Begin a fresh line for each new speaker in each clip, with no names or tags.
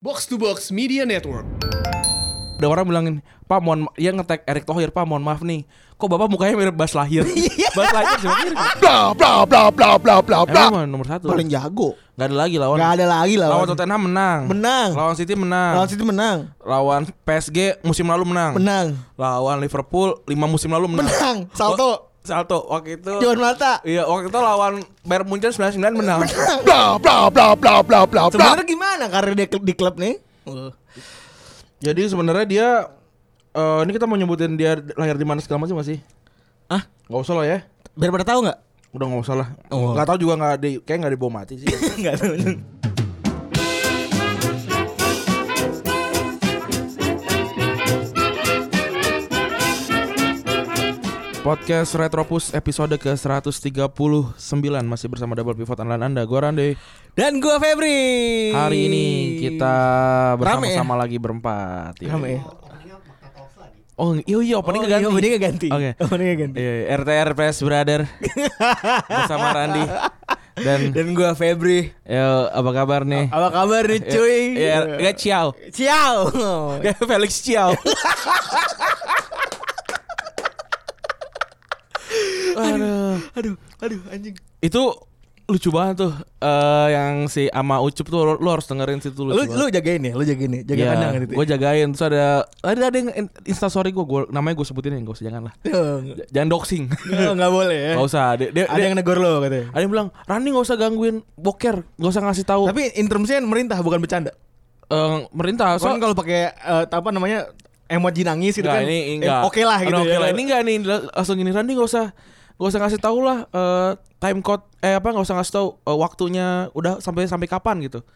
Box to Box Media Network.
ada orang bilangin pak mohon ma-" dia ngetek Erick Thohir pak mohon maaf nih kok bapak mukanya mirip Bas Lahir Bas Lahir siapa mirip
Iya.
ya?
Bla bla bla bla bla bla bla.
emang nomor satu
Paling jago.
nggak ada lagi lawan
Gak ada lagi
lawan
lawan.
Tottenham menang
Menang.
lawan City menang
Lawan City menang.
lawan PSG musim lalu menang
Menang.
lawan Liverpool lima musim lalu menang
Menang. Salto.
Wa- Salto waktu itu
Juan Mata.
iya waktu itu lawan Bayern Munchen 99 menang
Bla bla bla bla bla bla. Sebenarnya gimana karir dia di klub nih?
jadi sebenarnya dia eh, ini kita mau nyebutin dia lahir di mana segala macam nggak sih
Ah,
nggak usah lah ya
biar pada tahu nggak?
udah nggak usah lah
Oh.
nggak tahu juga nggak di kayak nggak dibawa mati sih
Nggak tahu.
Podcast Retropus episode ke-139 Masih bersama Double Pivot Andalan Anda Gue Rande
Dan gua Febri.
Hari ini kita bersama-sama
Rame
lagi berempat ya.
Rame.
Oh iya iya opening ganti
Opening ganti.
Oke
Openingnya ganti.
Iya, iya, RTR Press Brother Bersama Randi Dan
Dan gua Febri.
yo, apa kabar nih?
Apa kabar nih cuy?
Ya, ya, ciao
Ciao. Ya,
Kayak Felix Ciao Aduh
Aduh, aduh anjing.
itu lucu banget tuh eh yang si ama ucup tuh lu, lu harus dengerin situ
Lu lu jagain ya, lu jagain ya. Jaga kandang gitu.
gue jagain terus ada ada ada yang in- instastory gue gue namanya gue sebutin ya nggak usah jangan lah J- jangan doxing
Nggak nggak boleh ya.
nggak usah dia, dia- dia-
Ada yang negor lo katanya.
ada yang bilang Rani nggak usah gangguin boker nggak usah ngasih tahu
Tapi intermsian merintah bukan bercanda.
Eh, merintah so
Soalnya kalau pakai eh, apa namanya emoji nangis gitu
Nggak,
kan.
Nah, ini
eh,
enggak Nah,
Oke lah gitu.
Oke
ya.
lah ini enggak nih langsung gini Randi nggak usah nggak usah ngasih tahu lah eh, time code eh apa nggak usah ngasih tahu eh, waktunya udah sampai sampai kapan gitu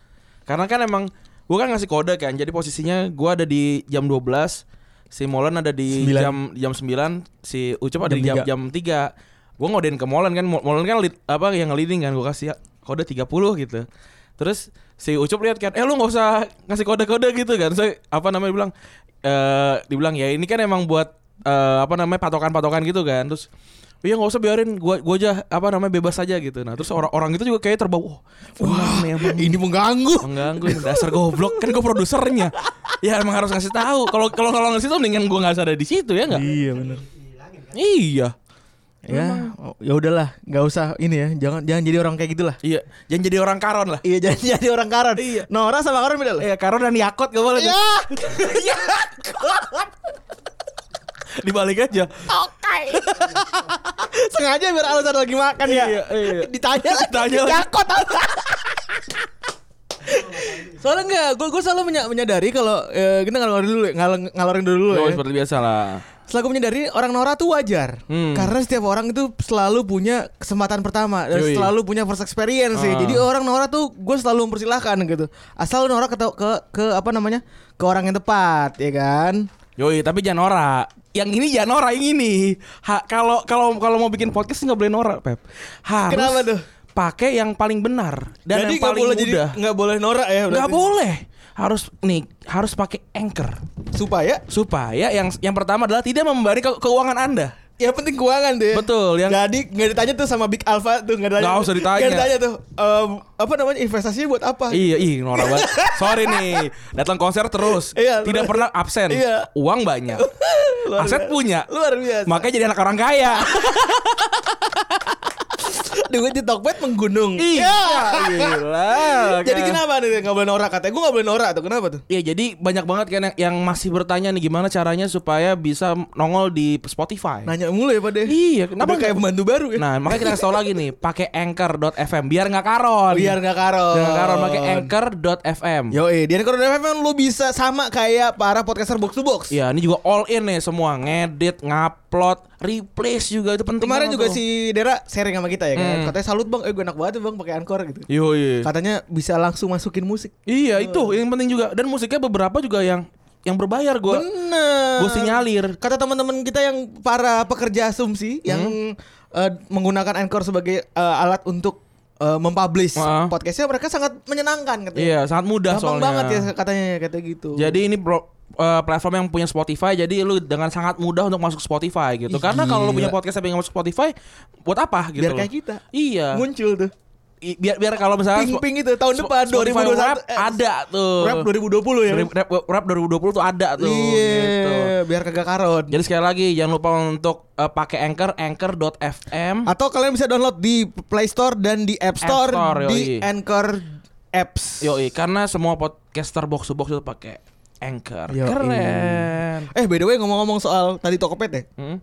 karena kan emang gua kan ngasih kode kan jadi posisinya gua ada di jam 12 si Molan ada di
Sembilan.
jam jam 9 si Ucup ada
Jam
di jam
tiga.
jam 3 gua ngodein ke Molan kan Mo- Molan kan lead, apa yang leading kan gua kasih kode 30 gitu terus si Ucup lihat kan eh lu nggak usah ngasih kode-kode gitu kan saya apa namanya bilang eh dibilang ya ini kan emang buat eh, apa namanya patokan-patokan gitu kan terus Iya nggak usah biarin gua gua aja apa namanya bebas aja gitu. Nah, terus orang-orang itu juga kayak terbawa. Wah, benar nih emang
Ini mengganggu.
mengganggu ini dasar goblok kan gue produsernya ya emang harus ngasih tahu kalau kalau kalau ngasih tahu mendingan gue nggak usah ada di situ ya nggak
Iya benar.
iya
Ya, oh, ya udahlah, nggak usah ini ya. Jangan jangan jadi orang kayak gitulah.
iya jangan jadi orang karon lah
Iya, jangan jadi orang karan. Iya. Nora sama karan beda lah.
iya karon dan yakot gak boleh tuh.
Ya.
dibalik aja
Sengaja biar alasan lagi makan ya.
Iya, iya.
Ditanya lagi.
Ditanya lagi.
Jakot apa? Soalnya enggak, gue gue selalu menya- menyadari kalau eh, kita ngalorin dulu, ya, ngal- ngalorin dulu dulu
Oh,
ya.
seperti biasa lah
Setelah gue menyadari orang Nora tuh wajar
Hmm.
Karena setiap orang itu selalu punya kesempatan pertama Dan
Yoi.
selalu punya first experience ya.
Ah.
Jadi orang Nora tuh gue selalu mempersilahkan gitu Asal Nora ke, ke, ke apa namanya Ke orang yang tepat ya kan
yoi tapi jangan Nora yang ini jangan Nora yang ini Ha, kalau kalau kalau mau bikin podcast nggak boleh Nora pep harus
Kenapa tuh?
pakai yang paling benar dan yang
nggak
paling mudah
nggak boleh Nora ya
nggak boleh harus nih harus pakai anchor
Supaya
supaya yang yang pertama adalah tidak membebani ke- keuangan Anda.
yang penting keuangan deh
Betul, yang-
Jadi nggak ditanya tuh sama Big Alpha tuh Nggak ditanya
Nggak
tuh.
usah ditanya.
Nggak ditanya tuh ehm, Apa namanya investasinya buat apa
Iya, ih norak banget. Sorry nih, datang konser terus,
Iya,
tidak
luar-
pernah absen,
Iya.
uang banyak,
Luar
aset
biasa.
punya,
Luar biasa
makanya jadi anak orang kaya.
Duit di Tokped menggunung
iya, kan? gila.
Jadi kenapa nih nggak boleh norak katanya? Gue nggak boleh norak tuh kenapa tuh?
Iya, jadi banyak banget kan yang, yang masih bertanya nih gimana caranya supaya bisa nongol di Spotify.
Nanya mulu ya pada.
Iya, kenapa
Kenapa kayak
nggak-
pembantu baru ya?
Nah, makanya kita kasih tau lagi nih, pakai anchor.fm biar nggak karon.
biar nggak karon.
iya. Biar nggak karon, pakai anchor.fm.
Yo, eh, di Anchor FM lu bisa sama kayak para podcaster box to box.
Ya ini juga all in nih semua Ngedit, ngupload, replace juga itu penting
Kemarin
banget
juga
tuh.
si Dera sharing sama kita ya kan.
Hmm.
Katanya salut bang, eh gue enak banget tuh bang pakai Anchor gitu.
Yo, iya.
Katanya bisa langsung masukin musik.
Iya itu yang penting juga Dan musiknya beberapa juga yang yang berbayar gua
Bener.
Gue sinyalir
Kata teman-teman kita yang para pekerja asumsi yang
Hmm.
eh, menggunakan Anchor sebagai eh, alat untuk eh, mempublish
Wah.
podcastnya mereka sangat menyenangkan katanya.
Iya sangat mudah
Gampang
soalnya
banget ya katanya katanya gitu.
Jadi ini bro- eh, platform yang punya Spotify Jadi lu dengan sangat mudah untuk masuk Spotify gitu
Ih,
Karena kalau lu
gila.
punya podcast tapi nggak masuk Spotify Buat apa gitu
biar
loh.
kayak kita
Iya
muncul tuh.
i- biar biar kalau misalnya
Ping-ping itu tahun depan,
2021
2021, eh,
ada tuh.
Rap 2020 ya.
Rap- rap, rap 2020 tuh ada tuh.
Iya,
gitu. Ya.
biar kagak karon.
Jadi sekali lagi jangan lupa untuk eh, pakai Anchor anchor.fm.
Atau kalian bisa download di Play Store dan di App Store,
App Store,
di
yoi.
Anchor Apps.
Yoi, karena semua podcaster box to box itu pakai Anchor.
Yoi.
Keren.
Eh by the way ngomong-ngomong soal tadi Tokoped ya.
Hmm?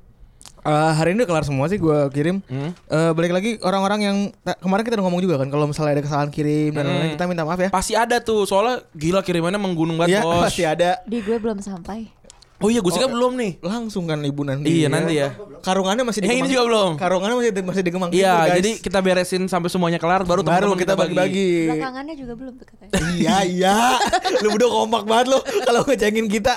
Eh, hari ini udah kelar semua sih gue kirim.
Hmm?
Eh, balik lagi orang-orang yang ta- kemarin kita udah ngomong juga kan kalau misalnya ada kesalahan kirim dan lain-lain
Hmm.
kita minta maaf ya.
Pasti ada tuh, soalnya gila kirimannya menggunung banget,
Iya
Bos.
pasti ada.
Di gue belum sampai.
Oh iya, gue sih kan belum nih.
Langsung kan libunan.
Iya, nanti ya.
Karungannya masih
Yang
di
ini
Kemang-
juga belum.
Karungannya masih di, masih di Kemang
Iya,
Timur, gitu, guys.
jadi kita beresin sampai semuanya kelar baru
baru
teman-teman
kita bagi-bagi.
Belakangannya juga belum tuh katanya.
iya iya lu udah kompak banget lo kalau ngecengin kita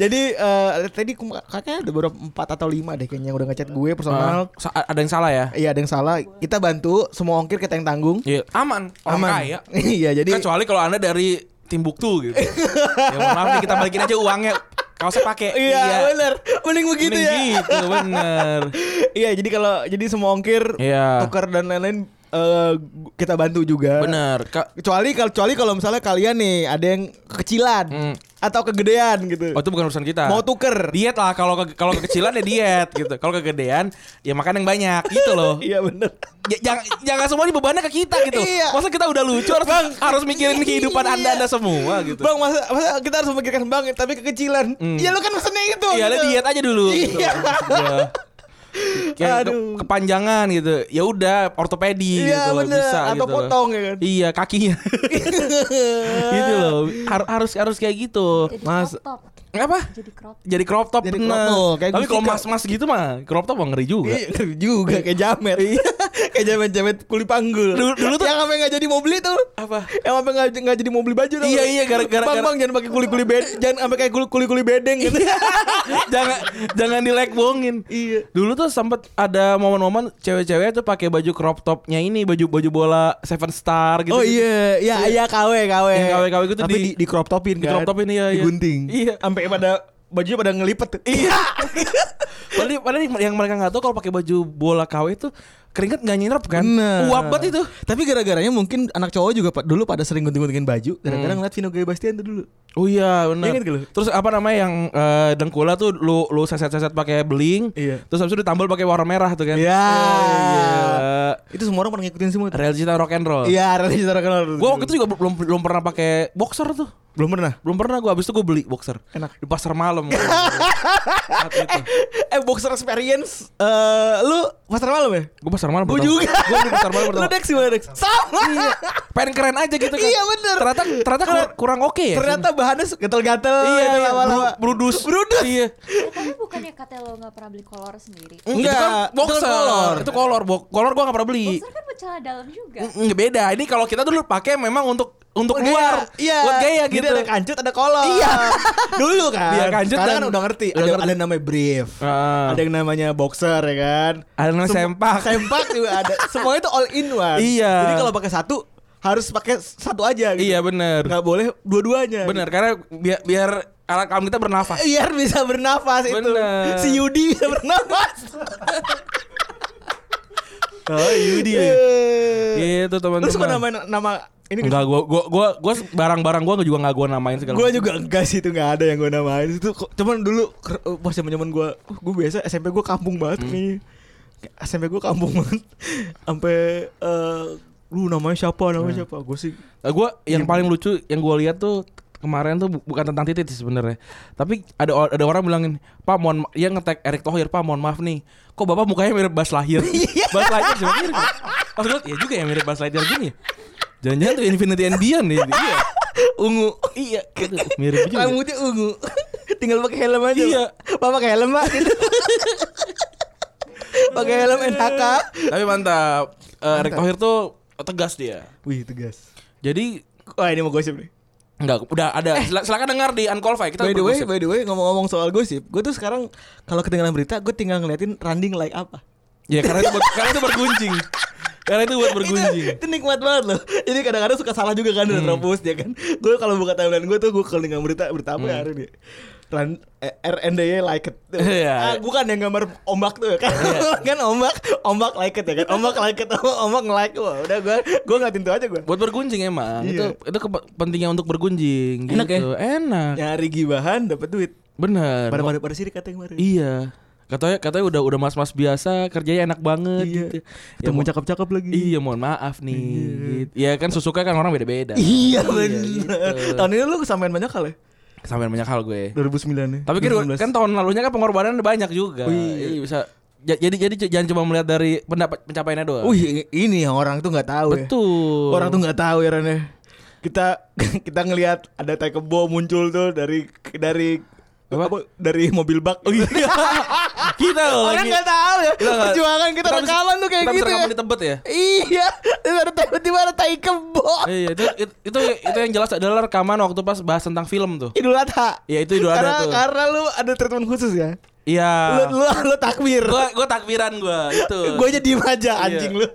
jadi eh, tadi kum- kakaknya ada beberapa empat atau lima deh kayaknya yang udah ngechat gue personal
Eh, sa- ada yang salah ya?
iya ada yang salah kita bantu semua ongkir kita yang tanggung
Iya, aman. Orang kaya.
iya jadi
Kecuali kalau Anda dari Timbuktu gitu. ya mohon maaf nih kita balikin aja uangnya. Kaosnya pakai.
iya, bener mending begitu
Mending
ya
Gitu bener.
iya jadi kalau jadi semua ongkir
Iya.
tuker dan lain-lain eh, gu- kita bantu juga
Bener. Ka-
kecuali kalau kecuali kalau misalnya kalian nih ada yang kekecilan
Hmm.
atau kegedean gitu
Oh itu bukan urusan kita.
mau tuker
diet lah kalau ke- kalau kekecilan ya diet gitu. Kalau kegedean ya makan yang banyak gitu loh.
iya bener
Ya, jangan jangan semua dibebannya ke kita gitu.
Iya.
Masa kita udah lucu harus harus mikirin kehidupan Anda-anda semua gitu. Hmm.
Bang masa, masa kita harus memikirkan bang tapi kekecilan. Ya lu kan pesennya itu.
Iya, lu
gitu.
diet aja dulu. gitu.
Iya.
Iya. Kayak ke-
Aduh.
kepanjangan gitu. Ya udah ortopedi
Iya,
gitu loh,
bener.
bisa
Atau
gitu loh.
potong, ya kan?
Iya, kakinya. gitu loh. Har- harus harus kayak gitu.
Jadi
Mas-
crop top.
Apa?
Jadi crop.
Jadi crop top
Jadi crop
bener.
top, kayak
Tapi
Gusti
kalau
Ka-
mas-mas gitu mah crop top mah ngeri juga.
Iya, ngeri juga kayak jamet. kayak jamet-jamet kulit panggul.
Iya. Dulu- dulu tuh-
yang sampai enggak jadi mau beli tuh.
Apa?
Yang sampai enggak enggak jadi mau beli baju tuh.
Iya, iya, gara-gara-
Bang,
gara-
bang jangan pakai kuli-kuli bedeng, jangan sampai kayak kuli-kuli bedeng gitu.
Iya. jangan jangan dilekbongin.
Iya.
Dulu tuh sempet ada momen-momen cewek-cewek tuh pakai baju crop topnya ini baju baju bola Seven Star gitu.
oh iya, iya iya KW KW.
Yang KW-KW gitu
Tapi
di-
di, di crop topin
di crop topin, iya, iya.
Digunting.
Iya.
Sampai pada bajunya pada ngelipet. Iya.
Padahal, padahal yang mereka nggak tahu kalau pakai baju bola KW itu keringet nggak nyerap kan?
Bener.
Uap banget itu.
Tapi gara-garanya mungkin anak cowok juga pak dulu pada sering gunting-guntingin baju.
Hmm.
Kadang-kadang ngeliat Vino Gaya Bastian tuh dulu.
Oh iya benar.
Iya kan, Gil?
Terus apa namanya yang eh, dengkula tuh lu lu seset-seset pakai beling.
Iya.
Terus habis itu ditambal pakai warna merah tuh kan.
Iya.
Iya.
Itu semua orang pernah ngikutin semua. tuh.
Real cinta rock and roll.
Iya, religi secara kenal.
Gua waktu itu juga belum belum pernah pakai boxer tuh.
belum pernah.
Belum pernah gua habis itu gua beli boxer.
Enak.
Di pasar malam. gua beli. Saat itu.
Eh boxer experience eh lu pasar malam ya?
Gua pasar malam.
Gue
pertama.
juga.
Gua di pasar malam Iya. pertama.
Lu Dex gimana Dex? Sama.
Pengen keren aja gitu kan.
Iya, bener.
Ternyata ternyata kur- kurang oke ya.
Ternyata bahannya gatel-gatel
iya,
gitu
iya.
lama-lama.
Bru- brudus.
Brudus.
Iya.
Eh, tapi bukannya kata lo gak pernah beli kolor sendiri.
Enggak, itu
Enggak,
kan boxer.
itu kan kolor.
Itu kolor, bo kolor gua gak pernah beli.
Boxer kan bercelah dalam juga.
Mm, beda. Ini kalau kita dulu pakai memang untuk untuk
Buat
luar,
gaya. Iya.
buat gaya
Jadi
gitu.
ada kancut, ada kolor. Iya. Dulu kan.
Iya, kancut
Sekarang
dan-
kan udah ngerti.
udah
Ada,
ngerti.
ada yang namanya brief.
Ah.
Ada yang namanya boxer ya kan.
Ada namanya
Sem-
sempak.
Sempak juga ada. Semuanya itu all in one.
Iya.
Jadi kalau pakai satu harus pakai satu aja gitu.
Iya bener
Nggak boleh Iya. dua-duanya.
Bener karena biar biar alat kaum kita bernafas.
Biar bisa bernafas itu.
Bener.
Si Yudi bisa bernafas.
Oh, Yudi.
Eh.
Gitu
Iya. Lu
teman-teman.
suka namain nama ini
Enggak gua gua gua gua barang-barang gua juga enggak gua namain segala.
Gue juga enggak sih itu enggak ada yang gue namain itu kok- cuman dulu ker- eh, pas zaman zaman gue gue biasa SMP gue kampung banget kayaknya Kayak SMP gue kampung banget sampai eh lu namanya siapa namanya siapa gue sih
Nah, gua yang
Iya.
paling lucu yang gua lihat tuh kemarin tuh bu- bukan tentang titik sih sebenarnya. Tapi ada or- ada orang bilangin, "Pak, mohon ma- yang ngetek Erick Thohir, Pak, mohon maaf nih. Kok Bapak mukanya mirip Bas Lahir?"
Iya.
Bas Lahir juga mirip. ya? Maksud gua, ya juga ya mirip Bas Lahir gini. ya? Jangan-jangan tuh Infinity and Beyond nih. Iya. Ungu. Iya. Aduh, mirip juga.
rambutnya ungu tinggal pakai helm aja
Iya.
Pak. pak pakai helm pak gitu. pakai helm NHK
Tapi mantap. Eh, Erick Thohir tuh tegas dia.
wih tegas
Jadi
wah ini mau gosip nih
Enggak, udah ada. Sila- silakan dengar di Unqualified. Kita
Eh. by the way,
bergosip.
by the way, ngomong-ngomong soal gosip, gue tuh sekarang kalau ketinggalan berita, gue tinggal ngeliatin Randing like apa.
ya karena itu buat, karena itu bergunjing. Karena itu buat bergunjing.
Itu, itu nikmat banget loh. Jadi Hmm. kadang-kadang suka salah juga kan udah terobos dia kan. Gue kalau buka timeline gue tuh gue kelingan berita berita apa ya hari ini. Ran- eh, RNDY like it.
Iya.
Ah, bukan yang gambar ombak tuh kan. kan ombak, ombak like it ya kan. Ombak like it, ombak like. Wah, udah gua gua ngatin tuh aja gua.
Buat bergunjing emang.
Iya.
Itu itu kepe- pentingnya untuk bergunjing
Enak ya?
gitu. Enak.
Nyari gibahan dapat duit.
Bener.
Pada
Mo-
pada pada sirik katanya kemarin.
Iya. Katanya katanya udah udah mas-mas biasa, kerjanya enak banget gitu. Ya,
Temu
mo-
Iya. cakep-cakep lagi.
Iya, mohon maaf nih. Gitu. Ya kan susuka kan orang beda-beda.
Iya bener.
gitu.
Tahun ini lu kesampean banyak kali. ya?
Sampai banyak hal gue.
2009 ya.
Tapi kan,
2019.
kan tahun lalunya kan pengorbanan banyak juga.
Wih.
Iya, bisa Ja- jadi jadi c- jangan cuma melihat dari pendapat pencapaiannya doang.
Wih, ini yang orang tuh nggak tahu ya.
Betul.
iya, oh Orang tuh nggak tahu ya Ren ya. Kita kita ngelihat ada Taekebo muncul tuh dari dari
Apa?
apa? dari mobil bak.
kita loh
orang
lagi-
nggak tahu ya.
Loh, nggak-
Perjuangan kita,
habis-
rekaman tuh kayak
kita habis
gitu.
rekaman
Ya.
di Tebet ya.
Iya, terus ada tiba-tiba ada Taekebo.
Iya, itu, itu itu itu yang jelas adalah rekaman waktu pas bahas tentang film tuh.
Idul Adha.
Iya, itu Idul Adha
karena,
tuh.
Karena lu ada treatment khusus ya.
Iya.
Lu, lu, lu takbir.
Gua gua takbiran gua itu.
Gue aja diem aja
Iya.
anjing lu.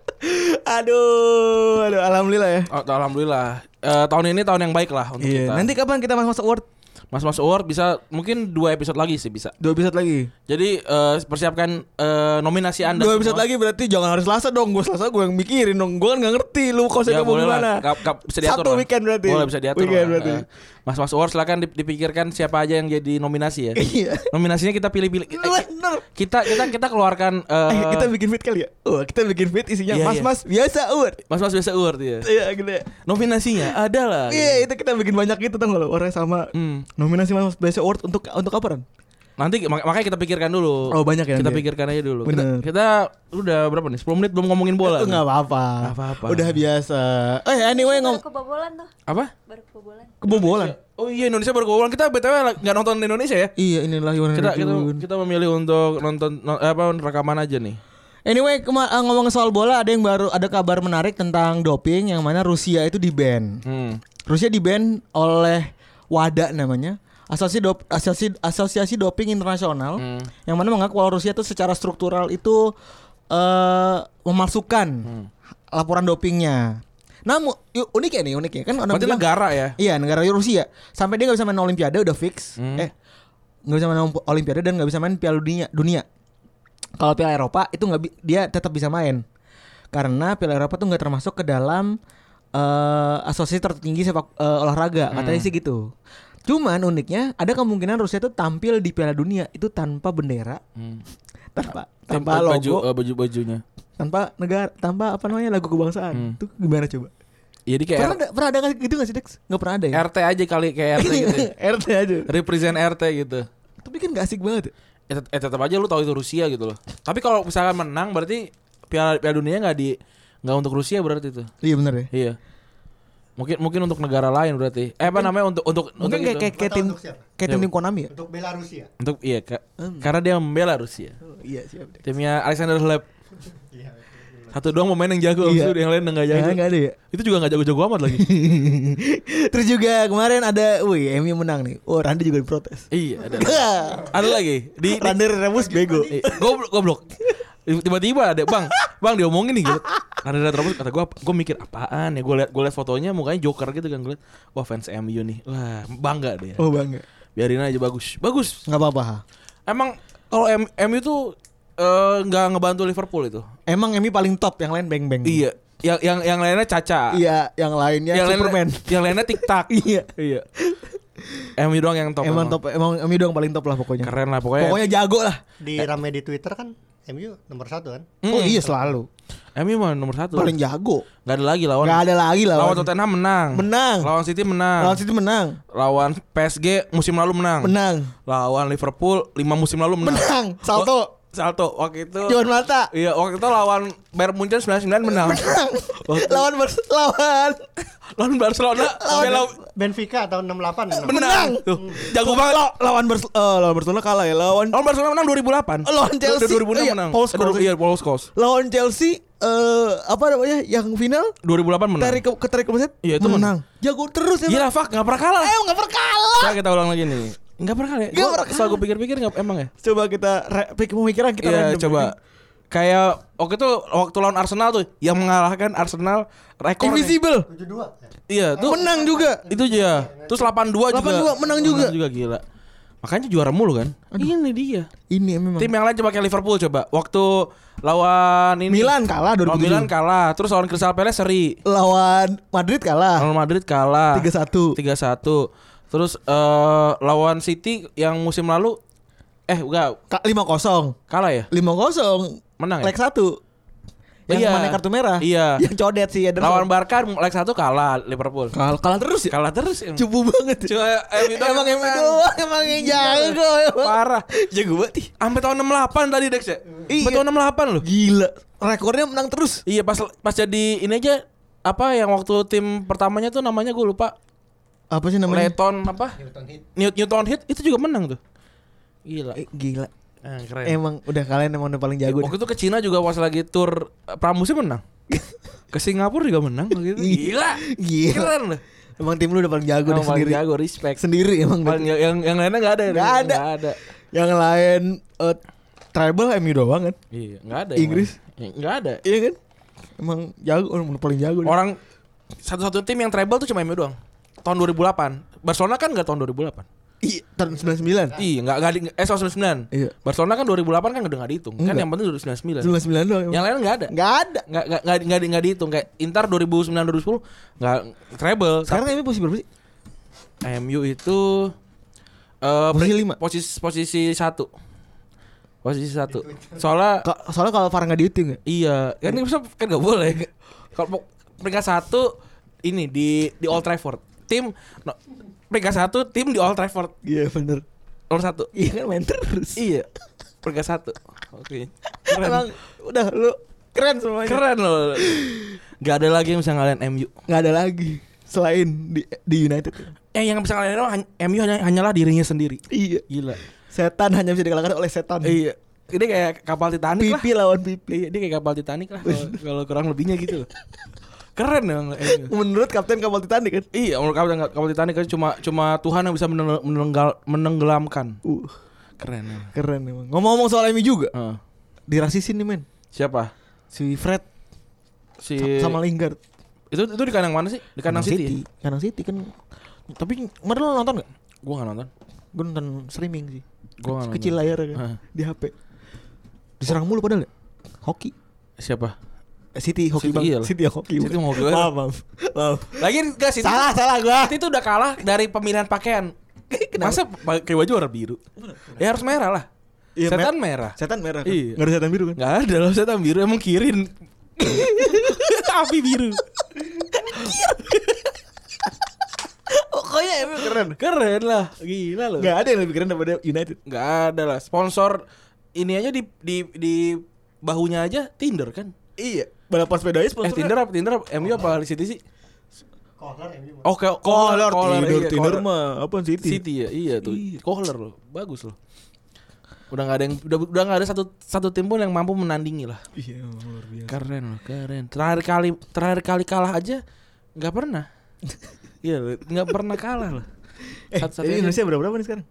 aduh, aduh, alhamdulillah ya.
Oh, alhamdulillah. Eh, tahun ini tahun yang baik lah untuk
Iya.
kita.
Nanti kapan kita masuk award?
Mas Mas Award bisa mungkin dua episode lagi sih bisa.
Dua episode lagi.
Jadi eh, persiapkan eh, nominasi Anda.
Dua
semua.
episode lagi berarti jangan harus Selasa dong. Gue Selasa gue yang mikirin dong. Gue kan gak ngerti lu
Ya
konsepnya mau
boleh lah,
gimana.
Gak- gak- bisa diatur
Satu
lah.
weekend berarti.
Boleh bisa diatur
Weekend
lah.
berarti.
Eh, Mas Mas Award silakan dip- dipikirkan siapa aja yang jadi nominasi ya.
Iya.
Nominasinya kita pilih-pilih. Eh,
Bener.
Kita kita kita keluarkan eh,
Eh, kita bikin fit kali ya. Oh, kita bikin fit isinya
Iya,
mas-mas biasa award.
Mas Mas biasa Award ya.
Iya gitu ya.
Nominasinya adalah
Iya itu kita bikin banyak gitu tau gak lo Orang sama
Hmm.
Nominasi mas mas biasa award untuk untuk apa Ran?
Nanti mak- makanya kita pikirkan dulu.
Oh, banyak ya
Kita
nanti.
pikirkan aja dulu.
Bener.
Kita, kita udah berapa nih? 10 menit belum ngomongin bola.
Enggak
nih.
apa-apa.
Nggak apa-apa.
Udah biasa. Eh anyway ngom
Baru kebobolan tuh,
Apa?
baru kebobolan.
kebobolan.
Oh iya Indonesia baru kebobolan. Kita BTW nggak nonton Indonesia ya.
Iya inilah Yohan
Kita kita kita memilih untuk nonton no- apa rekaman aja nih.
Anyway kema- eh, ngomong soal bola ada yang baru ada kabar menarik tentang doping yang mana Rusia itu di ban.
Hmm.
Rusia di ban oleh WADA namanya. Asosiasi Dop- Asosiasi Asosiasi Doping Internasional
Hmm.
yang mana mengaku bahwa Rusia itu secara struktural itu eh memalsukan
Hmm.
laporan dopingnya. Namun yu- unik ya nih unik ya kan orang
Berarti
bilang-
negara ya.
Iya negara Rusia sampai dia nggak bisa main Olimpiade udah fix.
Hmm.
Eh nggak bisa main Olimp- Olimpiade dan nggak bisa main Piala Dunia. Dunia. Kalau Piala Eropa itu nggak bi- dia tetap bisa main karena Piala Eropa tuh nggak termasuk ke dalam eh, asosiasi tertinggi sepak eh, olahraga
Hmm.
katanya sih gitu. Cuman uniknya ada kemungkinan Rusia tuh tampil di Piala Dunia itu tanpa bendera,
Hmm.
tanpa tanpa
Tanpa
logo,
baju eh, baju bajunya.
tanpa negara, tanpa apa namanya lagu kebangsaan. Itu gimana coba?
Jadi Hmm. kayak
Pernah ada, pernah ada gitu nggak sih Dex? Nggak pernah ada ya?
R- RT aja kali kayak RT
Iya.
gitu. ya.
RT aja.
Represent RT gitu.
Tapi kan gak asik banget. ya.
Eh, tet- eh tetap aja lu tahu itu Rusia gitu loh. Tapi kalau misalkan menang berarti Piala Piala Dunia nggak di nggak untuk Rusia berarti itu.
Iya bener ya.
Iya. Mungkin mungkin untuk negara lain berarti. Eh apa namanya untuk untuk untuk
Mungkin kayak
itu.
kayak, kayak
Atau
tim
untuk siapa?
kayak tim tim Konami ya.
Untuk Belarusia.
untuk iya ka-
Hmm.
karena dia membela Rusia.
iya siap deh.
Timnya Alexander Hleb. Satu doang pemain yang jago,
Iya.
abis itu yang lain enggak jago.
Ya, nggak ada ya.
Itu juga enggak jago-jago amat lagi.
Terus juga kemarin ada, wih MU menang nih. Oh Randy juga diprotes.
iya, ada. ada lagi. Di, di
Randy Remus bego.
eh, goblok goblok. Tiba-tiba ada, "Bang, Bang diomongin nih gitu." Karena ada terus kata gua, gua mikir apaan ya? Gua lihat gua lihat fotonya mukanya Joker gitu kan gua liat. Wah, fans MU nih. Wah, bangga dia.
Oh bangga.
Biarin aja bagus. Bagus.
Gak apa-apa. ha.
Emang kalau M- MU tuh eh, nggak ngebantu Liverpool itu.
Emang MU paling top yang lain beng beng.
Iya. Yang yang yang lainnya Caca.
Iya, yang lainnya
Yang lainnya
Superman.
yang lainnya TikTok.
Iya.
iya. MU doang yang top.
emang top, emang MU doang paling top lah pokoknya.
Keren lah pokoknya.
Pokoknya jago lah.
Eh,
Di rame di Twitter kan MU nomor satu kan.
Oh iya selalu.
MU mah nomor satu.
Paling jago.
Gak ada lagi lawan.
Gak ada lagi lah.
Lawan Tottenham menang.
Menang.
Lawan City menang.
Lawan City menang.
Lawan PSG musim lalu menang.
Menang.
Lawan Liverpool lima musim lalu Hmm. menang.
Menang. Salto.
Wa- Salto waktu itu.
Juan Mata.
Iya, waktu itu lawan Bayern Munchen 99 menang.
lawan Bers lawan
lawan Barcelona bela
Benfica tahun 68.
menang. Tuh, jago banget. Oh.
lawan Bers eh, lawan Barcelona kalah ya lawan
Lawan Barcelona menang 2008.
Oh, lawan Chelsea.
2006
Oh, iya,
menang.
Paul
Eh,
Scholes.
Iya, Paul Scholes.
lawan Chelsea eh apa namanya yang final
2008 menang.
tarik ke ke tarik ke offside,
Hmm. Iya, itu
menang jago terus ya
Gila, fuck, gak pernah kalah.
ayo nggak pernah kalah
Coba kita ulang lagi nih. Gak pernah kalah. ya?
Nggak
Gua-
pernah
Setelah gue pikir-pikir gak emang ya?
coba kita re- pik- pemikiran kita
Iya,
random.
coba. Kayak waktu itu waktu lawan Arsenal tuh yang mengalahkan Arsenal rekor
invisible
72.
Iya, tuh
menang juga
itu aja. Terus 82 juga.
82 menang juga.
juga gila. Makanya juara mulu kan. Ini dia.
Ini memang.
Tim yang lain coba kayak Liverpool coba. Waktu lawan ini
Milan kalah
Oh,
2007.
Milan kalah, terus lawan Crystal Palace seri.
lawan Madrid kalah
Real Madrid Oh, kalah.
3-1.
3-1. Terus eh, lawan City yang musim lalu eh enggak
Ka- 5-0.
kalah ya?
5-0.
Menang ya?
Leg 1. Yang
Iya.
mana kartu merah.
Iya.
Yang codet sih Ederson.
Lawan Barca leg 1 kalah Liverpool.
kalah, kalah terus ya.
Kalah terus. em.
Cupu banget. ya.
Cuma MU doang
Eh, emang
yang
emang
menang.
doang emang yang jago. emang.
Parah.
Jago banget. ih.
Sampai tahun 68 tadi Dex ya?
Iya.
Sampai tahun 68 loh.
Gila. Rekornya menang terus.
Iya pas pas jadi ini aja apa yang waktu tim pertamanya tuh namanya gue lupa
Apa sih namanya?
Leighton apa New- Newton Heath itu juga menang tuh gila
Eh, gila.
Eh, keren
Emang udah kalian emang udah paling jago.
waktu
dah.
itu ke Cina juga pas lagi tur eh, pramusim menang ke Singapura juga menang gitu gila
Gila.
keren loh
Emang tim lu udah paling jago
Emang
dah
paling
sendiri.
jago respect
Sendiri emang.
Paling- yang yang, yang lainnya nggak ada ya?
Nggak ada.
nggak ada
Yang lain eh, Tribal MU doang kan?
iya nggak ada
Inggris?
yang lain. nggak ada
Iya kan? Emang jago orang paling jago. dah.
orang satu-satu tim yang treble tuh cuma MU doang tahun 2008 Barcelona kan nggak tahun 2008
Iya, tahun 99.
Iya, enggak enggak di- eh 199.
Iya.
Barcelona kan 2008 kan udah enggak dihitung. Kan
Enggak.
yang penting 2099.
99 doang. emang.
Yang lain enggak ada.
Nggak ada.
Enggak enggak enggak enggak di- enggak dihitung kayak Inter 2009 2010 enggak treble.
Sekarang MU posisi berapa sih?
Tapi MU itu eh
Posisi
pre-
lima.
Posisi posisi 1. Posisi 1. Soalnya
Ka- Soalnya kalau VAR nggak dihitung ya.
iya, kan ini bisa- kan enggak boleh. Kalau mau- peringkat 1 ini di di Old Trafford. Tim no, peringkat 1 tim di Old Trafford.
Iya bener.
Nomor 1.
Iya kan main terus.
Iya. Peringkat satu. Oke.
Emang udah lu keren semuanya.
Keren loh. Gak ada lagi yang bisa ngalahin MU.
Nggak ada lagi selain di di United.
Eh yang bisa ngalahin orang hany- MU hanya, hanyalah dirinya sendiri.
Iya.
Gila.
Setan hanya bisa dikalahkan oleh setan.
Iya. Ini kayak kapal Titanic lah.
Pipi lawan pipi.
Iya, dia kayak kapal Titanic lah kalau- kalau kurang lebihnya gitu loh. Keren emang MU.
Menurut kapten kapal Titanic kan.
Iya, menurut kamu nggak- kapal Titanic kan cuma cuma Tuhan yang bisa meneng- menenggal- menenggelamkan.
Uh,
Keren. emang.
keren emang. Ngomong-ngomong soal MU juga.
Heeh.
Dirasisin nih men.
siapa?
Si Fred
Si
sama Lingard.
itu itu di kandang mana sih? Di kandang City. ya?
Kandang City kan. Tapi kemarin lo nonton nggak?
Gua nggak nonton.
Gue nonton streaming sih.
Gua nggak
Kecil
nonton.
layar kan.
Heeh.
Di HP. Diserang mulu padahal ya. Hoki.
Siapa?
Eh, City hoki
City,
banget.
iyalah.
City yang hoki.
City mau hoki banget.
Maaf, maaf. Maaf.
Lagi enggak sih?
Salah, salah gua.
Itu udah kalah dari pemilihan pakaian. Masa pakai baju warna biru? Ya harus merah lah.
Iya,
setan
mer-
merah.
Setan merah. Kan?
Iya.
Nggak ada setan biru kan?
Enggak ada loh setan biru emang kirin. Tapi biru.
Pokoknya MU keren.
Keren lah, gila loh.
Enggak ada yang lebih keren daripada United.
Enggak ada lah. Sponsor ini aja di di di bahunya aja Tinder kan.
Iya. Balapan sepeda aja
Eh
sponsornya.
Tinder apa Tinder apa? MU apa di City sih?
Kohler MU.
Oh, kayak
Kohler,
Kohler,
Tinder,
iya,
Tinder
Kohler.
mah apaan City?
City ya, iya tuh.
Iya.
Kohler loh, bagus loh. Udah nggak ada yang udah udah nggak ada satu satu tim pun yang mampu menandingi lah.
Iya, emang luar biasa.
Keren loh, keren. Terakhir kali terakhir kali kalah aja nggak pernah. Iya, loh, nggak pernah kalah loh.
Eh,
Satu-satunya
ini Indonesia berapa berapa nih sekarang?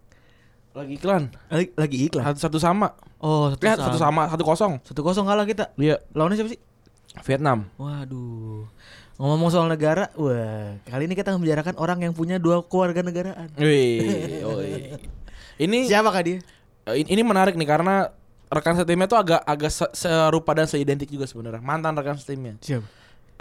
Lagi iklan.
Lagi, lagi iklan.
Satu, satu sama.
Oh,
Eh, satu sama, satu kosong.
Satu kosong kalah kita.
Iya,
Lawannya siapa sih?
Vietnam.
Waduh. Ngomong-ngomong soal negara, wah, kali ini kita membicarakan orang yang punya dua keluarga negaraan.
Wih, oi. Ini
Siapa kah dia?
Eh, ini menarik nih karena rekan setimnya tuh agak agak se- serupa dan seidentik juga sebenarnya mantan rekan setimnya
Siapa?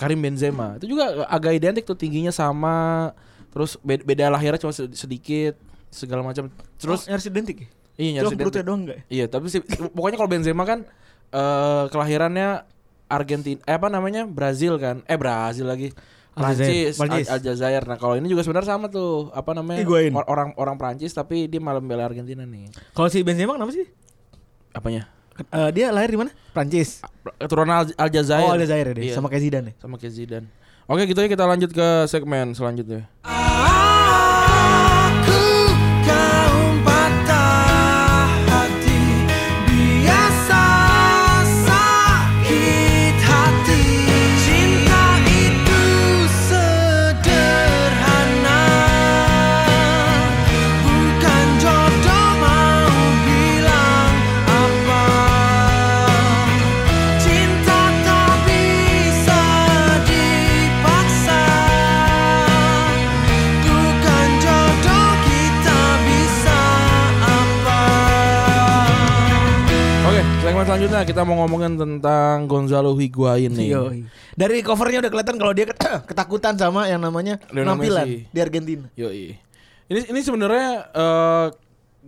Karim Benzema itu juga agak identik tuh tingginya sama terus be- beda lahirnya cuma sed- sedikit segala macam
Terus
terus
oh, nyaris identik. ya?
iya
Cuma
nyaris
perutnya
identik.
doang ya? enggak?
iya tapi sih pokoknya kalau Benzema kan eh kelahirannya Argentina eh, apa namanya Brazil kan eh Brazil lagi
Aljazair.
Prancis
Prancis.
Al- Aljazair nah kalau ini juga sebenarnya sama tuh apa namanya
Higuain.
or- orang orang Prancis tapi dia malah membela Argentina nih
Kalau si Benzema kenapa sih?
apanya
Eh, dia lahir di mana? Prancis.
keturunan Al- Aljazair.
Oh, Aljazair ya dia.
Iya,
Sama kayak Zidane. ya?
sama kayak Zidane. Oke, gitu ya kita lanjut ke segmen selanjutnya.
Cinta tak bisa dipaksa
selanjutnya kita mau ngomongin tentang Gonzalo Higuain nih.
Yoi. Dari covernya udah kelihatan kalau dia ket- ketakutan sama yang namanya
Lionel
penampilan
Messi.
di Argentina.
Yoi. Ini ini sebenarnya eh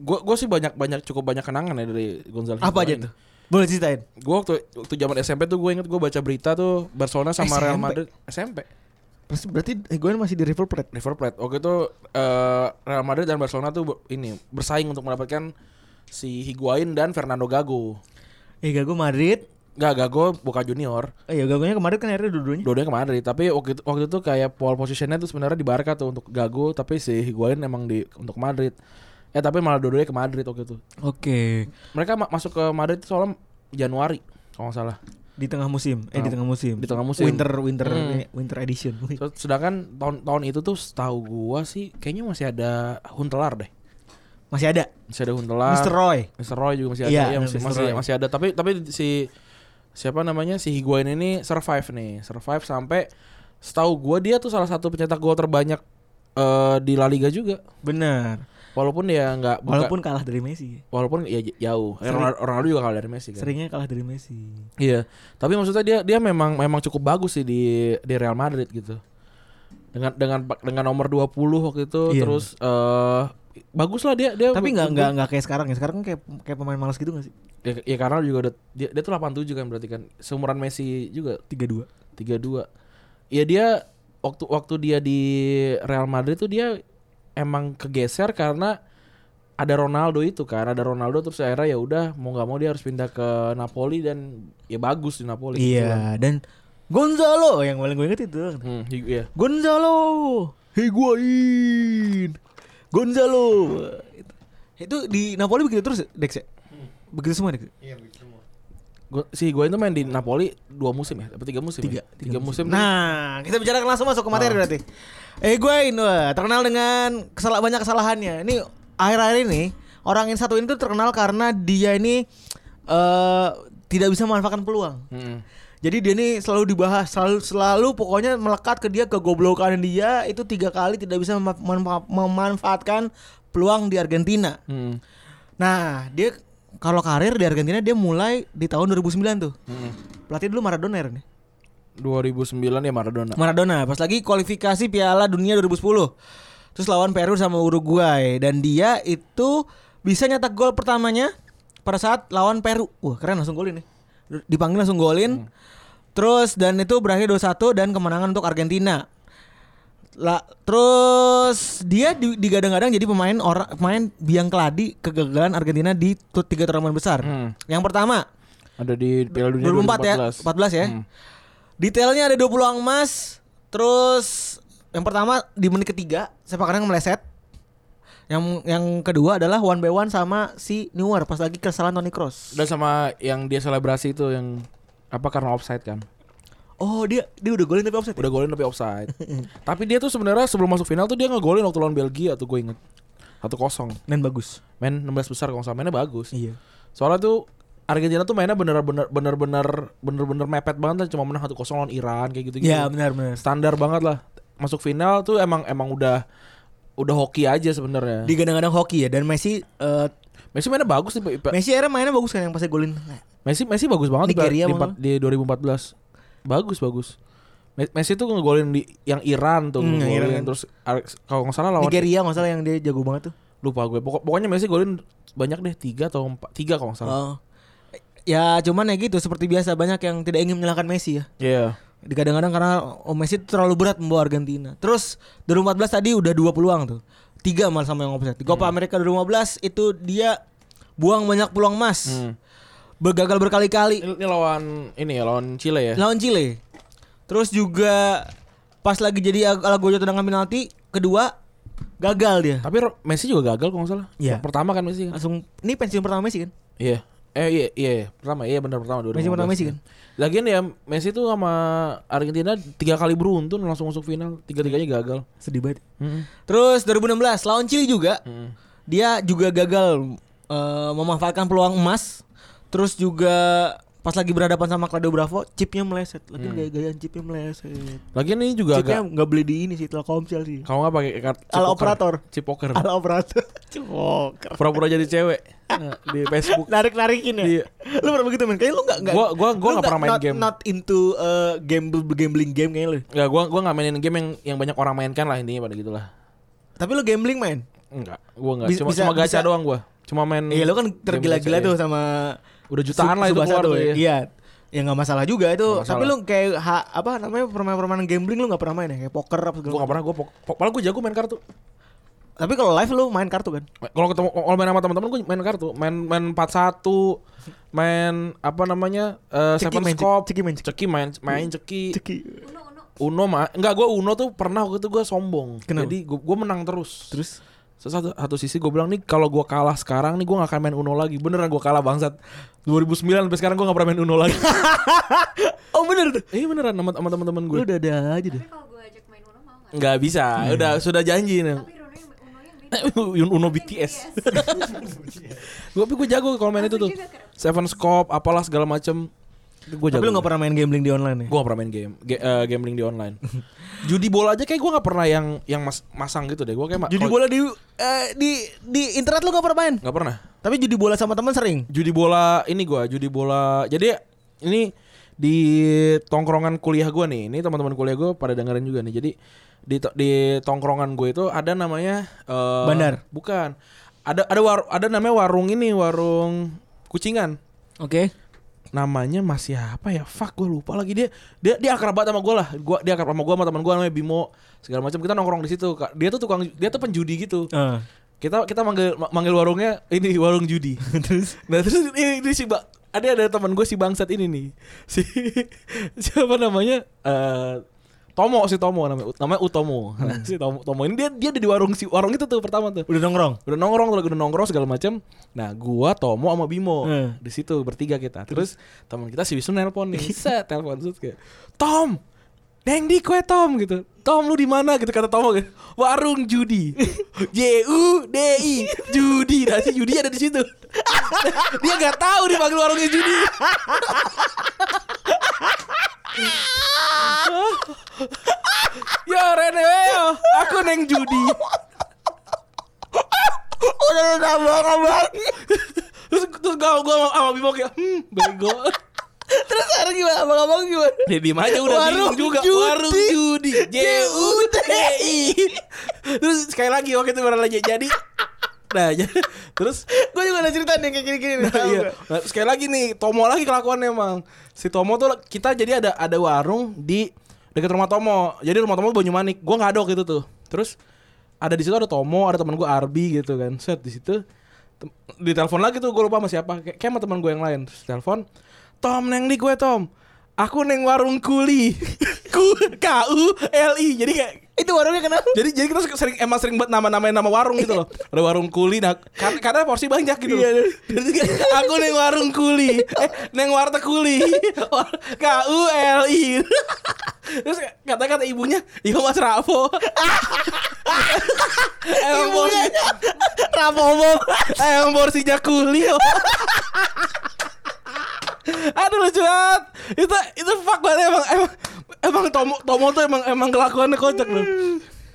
gue gue sih banyak banyak cukup banyak kenangan ya dari Gonzalo.
Apa aja
Higuain.
tuh? Boleh ceritain?
Gue waktu waktu zaman SMP tuh gue inget gue baca berita tuh Barcelona sama Real
SMP?
Madrid SMP
Pasti berarti gue masih di River Plate.
River Plate. Oke tuh eh, Real Madrid dan Barcelona tuh ber- ini bersaing untuk mendapatkan si Higuain dan Fernando Gago.
Eh gago Madrid.
Gak Gago bukan junior.
Eh ya gagonya ke Madrid kan akhirnya dua-duanya.
Dua-duanya ke Madrid, tapi waktu itu, waktu itu kayak pole positionnya tuh sebenarnya di Barca tuh untuk Gago, tapi si Higuain emang di untuk Madrid. Eh tapi malah dua-duanya ke Madrid waktu itu.
Oke.
Mereka ma- masuk ke Madrid tuh soalnya Januari kalau nggak salah.
Di tengah musim. Eh di
Tengah-
tengah musim.
Oh. di tengah musim.
Winter winter
Hmm.
eh, winter edition.
So, sedangkan tahun-tahun itu tuh setahu gua sih kayaknya masih ada Huntelar deh.
Masih ada.
Masih ada Huntelar.
Mr. Roy.
Mr. Roy juga masih ada.
Iya,
Iya, masih,
Mr.
masih,
Roy.
masih ada. Tapi tapi si siapa namanya si Higuain ini survive nih, survive sampai setahu gua dia tuh salah satu pencetak gol terbanyak eh, di La Liga juga.
Benar.
Walaupun dia nggak buka-
Walaupun kalah dari Messi.
walaupun ya j- jauh. Eh,
Sering.
Ronaldo Ronaldo juga kalah dari Messi kan.
Seringnya kalah dari Messi.
Iya, tapi maksudnya dia dia memang memang cukup bagus sih di di Real Madrid gitu. Dengan dengan dengan nomor 20 waktu itu
Iya.
terus eh bagus lah dia dia
Tapi nggak nggak nggak kayak sekarang ya. Sekarang kan kayak kayak pemain malas gitu nggak sih?
ya, ya karena juga udah dia, dia tuh 87 kan berarti kan seumuran Messi juga
Tiga dua.
32. Ya dia waktu waktu dia di Real Madrid tuh dia emang kegeser karena ada Ronaldo itu kan ada Ronaldo terus akhirnya ya udah mau nggak mau dia harus pindah ke Napoli dan ya bagus di Napoli gitu kebetulan.
Iya. Dan Gonzalo yang paling gue inget itu.
Hmm, Higu- iya.
Gonzalo Higuain Gonzalo Itu- itu di Napoli begitu terus Dex ya? begitu semua Dex
Iya begitu semua.
Gua- si gue itu main di Napoli dua musim ya, apa tiga musim? ya? tiga, musim.
nah kita bicarakan langsung masuk ke materi berarti Higuain wah, terkenal dengan kesala- banyak kesalahannya ini akhir-akhir ini orang yang satu ini tuh terkenal karena dia ini eh tidak bisa memanfaatkan peluang
Mm-mm.
Jadi dia nih selalu dibahas, selalu, selalu pokoknya melekat ke dia kegoblokan dia itu tiga kali tidak bisa mema- mema- memanfaatkan peluang di Argentina.
Mm-mm.
Nah dia kalau karir di Argentina dia mulai di tahun 2009 tuh. Pelatih dulu Maradona ya. Ren?
2009 ya Maradona.
Maradona pas lagi kualifikasi Piala Dunia 2010. Terus lawan Peru sama Uruguay dan dia itu bisa nyetak gol pertamanya pada saat lawan Peru. Wah, keren langsung golin nih. Dipanggil langsung golin. Terus dan itu berakhir 2-1 dan kemenangan untuk Argentina. La, terus dia di- digadang-gadang jadi pemain orang pemain biang keladi kegagalan Argentina di tu- tiga turnamen besar.
Hmm.
Yang pertama
Ada di Piala Dunia
2004 ya, 14 ya. Detailnya ada dua peluang emas. Terus yang pertama di menit ketiga sepak kanan meleset. Yang yang kedua adalah one by one sama si Newer pas lagi kesalahan Toni Kroos.
Dan sama yang dia selebrasi itu yang apa karena offside kan.
Oh dia dia udah golin tapi offside. ya?
Udah golin tapi offside. tapi dia tuh sebenarnya sebelum masuk final tuh dia ngegolin waktu lawan Belgia tuh gue inget. 1-0.
Dan bagus.
Main 16 besar kalau nggak salah mainnya bagus.
Iya.
Soalnya tuh Argentina tuh mainnya bener-bener bener-bener bener-bener mepet banget lah. cuma menang 1-0 lawan Iran kayak gitu-gitu.
Iya benar benar.
standar banget lah masuk final tuh emang emang udah udah hoki aja sebenarnya.
Digadang-gadang hoki ya dan Messi eh,
Messi mainnya bagus sih. Pak.
Messi era mainnya bagus kan yang pas dia golin.
Messi Messi bagus banget di,
Nigeria
di, empat- di 2014. Bagus bagus. Me- Messi tuh ngegolin di yang Iran tuh
Hmm, yang
ngegolin.
Iran kan.
terus Ar- kalau nggak salah lawan
Nigeria masalah yang dia jago banget tuh.
lupa gue. Pokok- pokoknya Messi golin banyak deh tiga atau empat tiga kalau nggak salah.
Oh. Ya cuman ya gitu seperti biasa banyak yang tidak ingin menyalahkan Messi ya.
Iya.
Kadang-kadang karena oh, Messi terlalu berat membawa Argentina. Terus 2014 tadi udah dua peluang tuh. Tiga malah sama yang offside. Di Copa America 2015 itu dia buang banyak peluang emas.
Hmm.
Bergagal berkali-kali
Ini, ini lawan ini ya lawan Chile ya.
lawan Chile. Terus juga pas lagi jadi Alagojo tendangan penalti kedua gagal dia.
Tapi Ro- Messi juga gagal kalau nggak salah.
Iya.
Pertama kan Messi kan.
Langsung ini pensiun pertama Messi kan?
Iya. Eh iya iya iya. pertama iya benar pertama 2015.
Messi pertama Messi kan?
Lagian ya Messi tuh sama Argentina tiga kali beruntun langsung masuk final, tiga-tiganya gagal.
Sedih banget.
Heeh.
Terus 2016 lawan Chili juga.
Hmm.
Dia juga gagal eh, memanfaatkan peluang emas. Terus juga pas lagi berhadapan sama Claudio Bravo, chipnya meleset. Lagi gaya-gayaan chipnya meleset.
Lagian ini juga
Chipnya
Hmm. agak
nggak beli di ini sih Telkomsel sih.
kalau nggak pakai kartu
Ala operator.
Cipoker.
Ala operator. Cipok.
Pura-pura jadi cewek. Nah, di Facebook.
Narik-narikin ya.
Iya.
Lu pernah begitu main? Kayaknya lu enggak
Gua- gua- gua nggak pernah main game.
Not into uh, gamble gambling game kayaknya lu.
Ya gua gua nggak mainin game yang yang banyak orang mainkan lah intinya pada gitulah.
Tapi lu gambling main?
Enggak, gua enggak.
Bisa-
Cuma
bisa-
cuma gacha
bisa-
doang gua. Cuma main
Iya lu kan
game
tergila-gila
gacha,
tuh
Hmm. iya.
sama
Udah jutaan lah itu
Tsubasa
keluar
tuh,
tuh,
Iya.
iya.
Ya nggak masalah juga itu.
Nggak masalah.
Tapi lu kayak ha- apa namanya permainan-permainan gambling lu nggak pernah main ya? Kayak poker apa segala
Gua nggak pernah gua pok- pok- malah gua jago main kartu.
Tapi kalau live lu main kartu kan?
Kalau ketemu kalau main sama teman-teman gua main kartu, main main 41, main apa namanya? eh
Ceki
Seven
main, Ceki.
Scope.
Ceki main, Ceki.
Ceki main main ceki.
Ceki.
Uno, uno.
Uno mah enggak gua Uno tuh pernah waktu itu gua sombong.
Kenapa?
Jadi gua, gua menang terus.
Terus
Terus satu, satu sisi gue bilang nih kalau gue kalah sekarang nih gue gak akan main Uno lagi. Beneran gue kalah bangsat. 2009 sampai sekarang gue gak pernah main Uno lagi.
Oh bener tuh.
Iya beneran sama, sama teman-teman gue.
Lu udah ada aja deh.
Tapi kalau gue ajak main uno mau nggak?
Nggak bisa.
Iya.
Udah sudah janji nih.
Tapi uno yang uno yang
Uno BTS. Gue tapi gue jago kalau main itu tuh.
Aku juga keren.
Seven Scope, apalah segala macem. Gue jago.
Tapi lu nggak pernah main gambling di online ya?
Gue gak pernah main game, ga- eh, gambling di online. Judi bola aja kayak gue gak pernah yang yang mas- masang gitu deh. Gue kayak ma-
Judi
kalau-
bola di eh, di di internet lu nggak pernah main?
nggak pernah.
Tapi judi bola sama teman sering.
judi bola ini gua judi bola jadi ini di tongkrongan kuliah gua nih ini teman-teman kuliah gua pada dengerin juga nih jadi di to- di tongkrongan gue itu ada namanya eh,
Bandar?
bukan ada ada war- ada namanya warung ini warung kucingan
Oke.
namanya masih apa ya fuck gue lupa lagi dia dia dia akrab banget sama gue lah gua dia akrab sama gue sama teman gue namanya Bimo segala macam kita nongkrong di situ Kak. dia tuh tukang dia tuh penjudi gitu kita kita manggil ma- manggil warungnya ini warung judi
Terus
Nah terus ini, ini si ba- ada ada teman gue si bangsat ini nih si siapa namanya Eh, Tomo si Tomo namanya namanya Utomo Nah, si Tomo Tomo ini dia dia ada di warung si warung itu tuh pertama tuh
udah nongkrong.
udah nongkrong tuh udah nongkrong segala macam nah gua Tomo sama Bimo
Hmm.
di situ bertiga kita terus teman kita si Wisnu nelpon nih set telepon terus kayak Tom Neng di kue Tom gitu Tom lu di mana gitu kata Tomo gitu warung judi J U D I judi nah si judi ada di situ dia nggak tahu dipanggil warungnya judi Yo Rene, yo, aku neng judi.
Udah udah nambah nambah.
terus terus gue gue sama Bimo kayak hmm bego
Terus sekarang gimana? Abang abang gimana?
dia diem aja udah bingung
Warung
juga
judi.
warung judi J U D I terus sekali lagi waktu itu baru lagi jadi nah jadi- terus
Gue juga ada cerita nih kayak gini-gini. nih, tahu
iya.
nggak?
Nah, sekali lagi nih Tomo lagi kelakuannya emang si Tomo tuh kita jadi ada ada warung di dekat rumah Tomo jadi rumah Tomo Banyumanik gua nggak ada waktu itu tuh terus ada di situ ada Tomo ada teman gua Arbi gitu kan set di situ tem- ditelepon lagi tuh gue lupa sama siapa kayak kayak sama teman gue yang lain terus telepon Tom neng di gue Tom aku neng warung kuli ku k u l i jadi kayak
Itu warungnya kenapa?
jadi jadi kita sering emang sering buat nama-namain nama warung gitu loh. Ada warung kuli nah kar- karena porsi banyak gitu. loh. Jadi kayak, aku neng warung kuli. Eh, neng warteg kuli. K U L I. Terus kata-kata ibunya, "Iya Mas Raffo." Emang porsi,
Rapomo.
emang porsinya kuli. Aduh lucu banget. Itu itu fuck banget emang emang emang Tomo Tomo tuh emang emang kelakuannya kocak loh.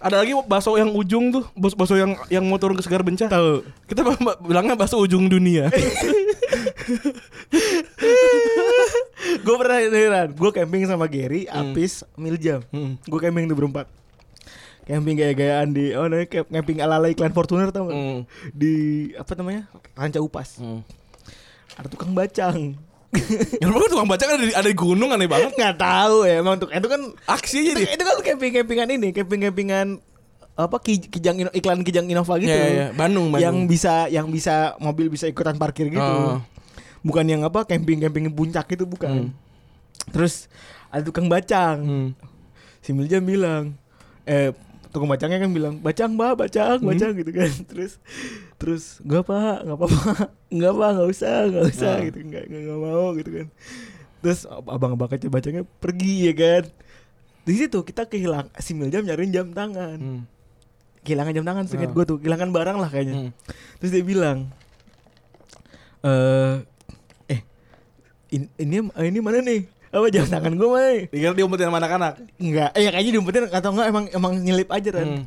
Ada lagi bakso yang ujung tuh, bas- bakso yang yang mau turun ke segar bencah.
Tahu.
Kita b- b- bilangnya bakso ujung dunia.
Gue pernah heran. Gue camping sama Gary,
Hmm.
Apis, Miljam. Gue camping di berempat. Camping gaya-gayaan di oh namanya camp- camping ala-ala iklan Fortuner tau gak?
Hmm.
Di apa namanya? Ranca Upas. Ada tukang bacang.
Yang lu tukang baca kan ada di, ada di gunung aneh banget.
nggak tahu ya emang tuh itu kan
Aksi aja
itu,
dia.
itu kan camping-campingan ini, camping-campingan apa ki- kijang ino- iklan kijang Innova gitu.
Iya, iya, Bandung, Bandung.
Yang bisa yang bisa mobil bisa ikutan parkir gitu.
Oh. Hmm.
Bukan yang apa camping-camping puncak itu bukan. Terus ada tukang bacang. Si Miljam bilang eh tukang bacangnya kan bilang bacang mbak bacang
Hmm.
bacang gitu kan terus terus gak pak nggak apa-apa nggak apa nggak usah nggak usah
Ah.
gitu nggak nggak nggak mau gitu kan terus ab- abang-abang kecil bacangnya pergi ya kan di situ kita kehilangan si Miljam nyariin jam tangan
Hmm.
kehilangan jam tangan seingat
Ah.
gue tuh kehilangan barang lah kayaknya
Hmm.
terus dia bilang eh eh in- ini ini mana nih apa jam tangan gue mana nih
Dikira diumpetin sama anak-anak.
Enggak, eh, ya kayaknya diumpetin atau enggak emang emang nyelip aja kan.
Hmm.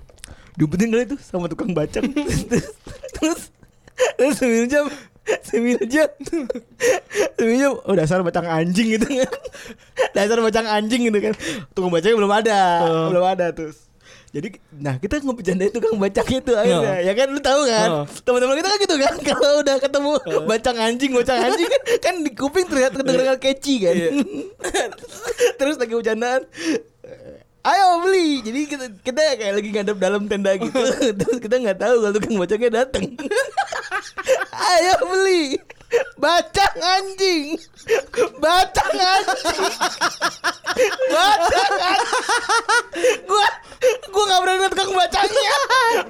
Diumpetin kali tuh sama tukang bacang. terus terus terus sebelum jam Sembilan jam. Sembilan jam. Oh dasar bacang anjing gitu kan. dasar bacang anjing gitu kan. Tukang bacanya belum ada. Belum ada terus. Jadi nah kita ngebecandain tukang bacang itu akhirnya. Ya kan lu tahu kan.
Oh.
Teman-teman kita kan gitu kan. Kalau udah ketemu bacang anjing, bacang anjing kan kan di kuping terlihat kedengeran keci kan. terus lagi bercandaan ayo beli jadi kita kita kayak lagi ngadep dalam tenda gitu terus kita nggak tahu kalau tukang bacangnya datang ayo beli bacang anjing bacang anjing bacang anjing gua gua nggak berani liat tukang bacangnya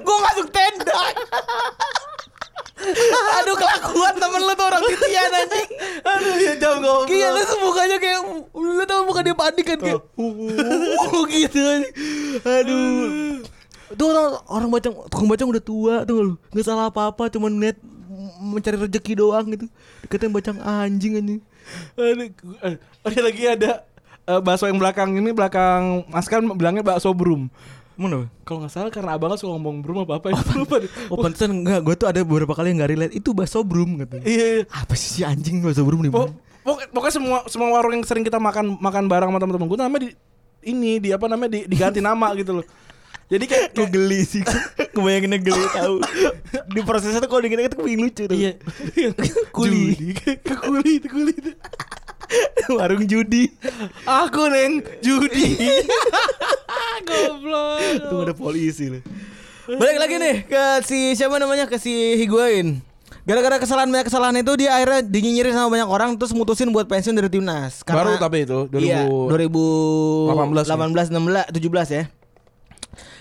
gua masuk tenda aduh kelakuan temen lu tuh orang titian anjing
Aduh ya jam goblok.
Gila lu semukanya kayak Lu tau muka dia panik kan kayak "Uh," gitu Aduh Itu orang, orang bacang Tukang bacang udah tua tuh lu Gak salah apa-apa Cuman net mencari rezeki doang gitu Deketin bacang "Ah, anjing anjing
Aduh, gu- eh, ada lagi ada eh, bakso yang belakang ini belakang Mas kan bilangnya bakso brum.
Mana?
Kalau nggak salah karena abangnya suka ngomong brum apa apa itu lupa. deh.
Oh pantesan enggak Gue tuh ada beberapa kali yang gak relate Itu bakso brum katanya
Iya. iya.
Apa sih si anjing bakso brum nih
Pok- pok- Pokoknya semua semua warung yang sering kita makan makan bareng sama teman-teman gue namanya di ini di apa namanya di, diganti nama gitu loh. Jadi kayak,
Gue
kayak-
geli sih Kebayanginnya geli tau Di prosesnya tuh kalau diinget-inget Kepingin lucu tuh
iya.
Kuli.
Judi. Kayak kuli itu kuli itu.
Warung judi Iya.
Aku neng judi. Goblok.
Itu ada polisi loh. Balik lagi nih ke si siapa namanya ke si Higuain. Gara-gara kesalahan banyak kesalahan itu dia akhirnya dinyinyirin sama banyak orang terus mutusin buat pensiun dari timnas. iya,
Baru tapi itu, 2000 18 ya.
2018 18 16 17 ya.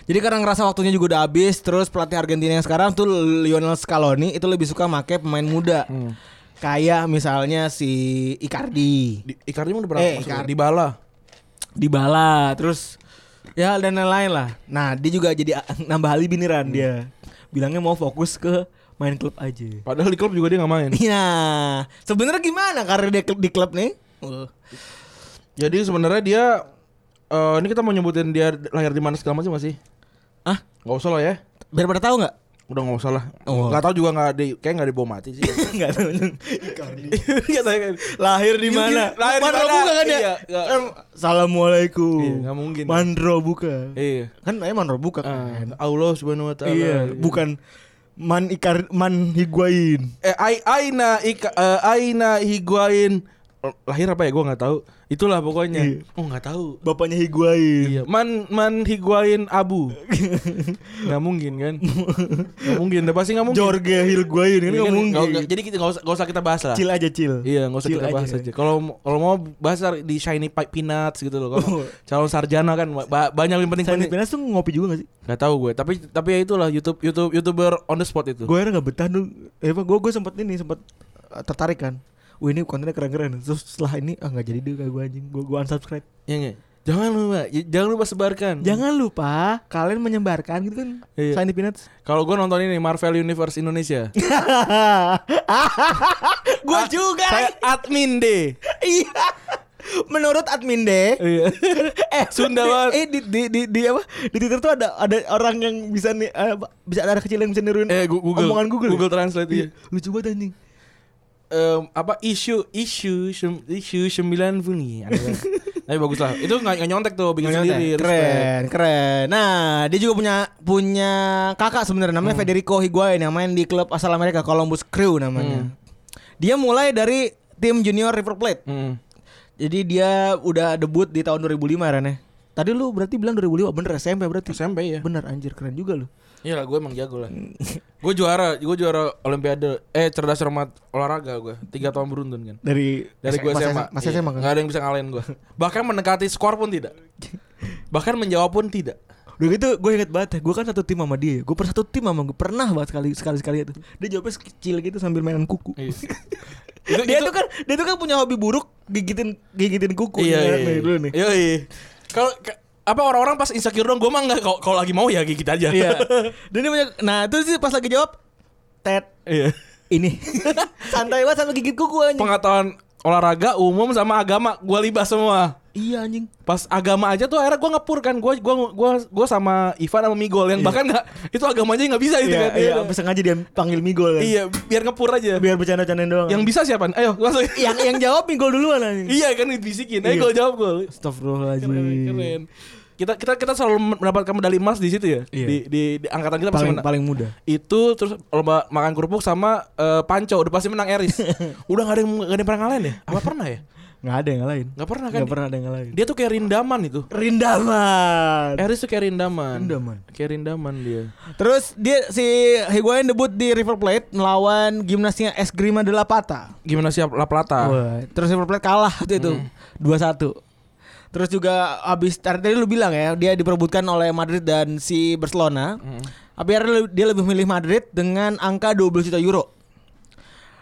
Jadi karena ngerasa waktunya juga udah habis terus pelatih Argentina yang sekarang tuh Lionel Scaloni itu lebih suka make pemain muda.
Hmm.
Kayak misalnya si Icardi.
Di, Icardi emang udah berapa?
Eh, Icardi.
Di bala.
Dibala terus ya dan lain-lain lah. Nah, dia juga jadi a- nambah ahli biniran dia. Bilangnya mau fokus ke main klub aja.
Padahal di klub juga dia nggak main.
Iya. Sebenarnya gimana karir dia ke- di klub nih? Uh,
Jadi sebenarnya dia eh, ini kita mau nyebutin dia lahir di mana segala macam nggak sih?
Ah,
Gak usah lah ya.
biar pada tahu nggak?
Udah nggak usah lah.
Oh.
Gak tau juga nggak di kayak nggak dibawa mati sih.
Enggak tahu. Nggak tahu kan. Lahir di
Gini,
mana?
Iya, lahir di
Mandro
mana?
buka kan ya?
Iya, nggak.
Kan, Assalamualaikum.
Iya, nggak mungkin.
Mandro buka.
iya.
Kan namanya Mandro buka
Eh,
kan.
Allah subhanahu wa taala.
iya, bukan Man Ikar Man Higuain.
Eh, Ai- Aina Ika, eh, Aina Higuain lahir apa ya gua nggak tahu. Itulah pokoknya.
Iya.
Oh nggak tahu.
Bapaknya Higuain.
Iya, man man Higuain Abu. nggak mungkin kan? Nggak mungkin, udah pasti nggak mungkin.
Jorge Higuain
Iya
kan nggak
kan?
mungkin.
Nggak- nggak- jadi kita nggak usah nggak usah kita bahas lah.
Cil aja cil.
Iya, nggak usah
Chill
kita bahas aja. Kalau kalau mau bahas tar- di shiny Pi- peanuts gitu loh. Kalau
Oh.
calon sarjana kan ba- banyak yang
Sandi
penting-penting.
Pinas tuh ngopi juga gak sih?
Gak tahu gue, tapi tapi ya itulah YouTube YouTube YouTuber on the spot itu.
Gue akhirnya gak betah dulu Eh gue gue sempet ini sempet eh, tertarik kan Wih ini kontennya keren-keren Terus setelah ini ah gak jadi deh gue anjing Gue gue unsubscribe
Iya nggak? Jangan lupa, j- jangan lupa sebarkan.
Jangan lupa kalian menyebarkan gitu kan
Iya.
Sandi Pinas
Kalau gue nonton ini Marvel Universe Indonesia.
Gue juga
Ah, Saya
lagi.
admin deh.
Iya Menurut admin deh
Iya.
eh
Sunda
di-
banget.
eh di, di, di, di apa di Twitter tuh ada ada orang yang bisa nih eh, bisa ada anak kecil yang bisa niruin
Eh, Gu- Google.
omongan Google ya?
Google Translate, iya.
lucu banget anjing
Em, apa isu isu sem- isu 90 nih. Tapi bagus lah. Itu nggak nggak nyontek tuh bikin sendiri.
keren
respect.
keren nah dia juga punya punya kakak sebenarnya
Hmm.
namanya Federico Higuain yang main di klub asal Amerika Columbus Crew namanya dia mulai dari tim junior River Plate
Hmm.
jadi dia udah debut di tahun 2005 Rene ya. tadi lu berarti bilang 2005 bener SMP berarti
SMP ya.
bener anjir keren juga lu
Iya lah, gue emang jago lah.
Hmm.
gue juara, gue juara Olimpiade. Eh, cerdas cermat olahraga gue. Tiga tahun beruntun kan.
dari
Dari gue SMA.
masih
Iya,
SMA kan
nggak ada yang bisa ngalahin gue. Bahkan mendekati skor pun tidak. Bahkan menjawab pun tidak.
Udah gitu gue inget banget Gue kan satu tim sama dia Gue pernah satu tim sama Gue pernah banget sekali sekali sekali itu Dia jawabnya kecil gitu sambil mainan kuku
Iya.
Dia tuh kan Dia tuh kan punya hobi buruk Gigitin gigitin kuku
Iya,
Ingat
iya.
nih dulu nih
Iya, iya. Kalau ke- apa orang-orang pas insecure dong, gue mah nggak kalau- kalau lagi mau ya gigit aja.
Iya Dan dia punya Nah itu sih pas lagi jawab Ted
Iya.
Ini Santai banget sampai gigit kuku anjing
Pengetahuan olahraga umum sama agama gue libas semua.
Iya anjing.
Pas agama aja tuh akhirnya gue ngepur kan. Gue gua, gua, gua sama Ivan sama Migol yang bahkan nggak itu agamanya nggak bisa itu
Iya,
kan.
iya, sampai sengaja dia panggil Migol kan.
Iya, biar ngepur aja.
Biar bercanda-candain doang.
Yang bisa siapa? Ayo langsung.
yang yang jawab Migol duluan anjing.
iya kan dibisikin.
Iya. Hmm.
Ayo gol jawab gol.
Astagfirullahaladzim.
Keren, keren. Kita kita kita selalu mendapatkan medali emas di situ ya.
Iya.
Di, di, di angkatan kita pasti
Paling
menang.
paling muda.
Itu terus lomba makan kerupuk sama eh, panco udah pasti menang Eris. udah nggak ada yang nggak ada yang pernah ngalahin ya? Apa pernah ya?
Nggak ada yang ngalahin.
Nggak pernah kan?
Nggak pernah ada yang ngalahin.
Dia tuh kayak rindaman itu.
Rindaman.
Eris tuh kayak rindaman.
Rindaman.
Kayak rindaman dia.
Terus dia si Higuain debut di River Plate melawan gimnasnya Esgrima de la Plata.
Gimana siap La Plata?
Wah, terus River Plate kalah waktu itu 2-1. Terus juga abis tadi, tadi lu bilang ya dia diperebutkan oleh Madrid dan si Barcelona. Tapi akhirnya le- dia lebih milih Madrid dengan angka 12 juta euro.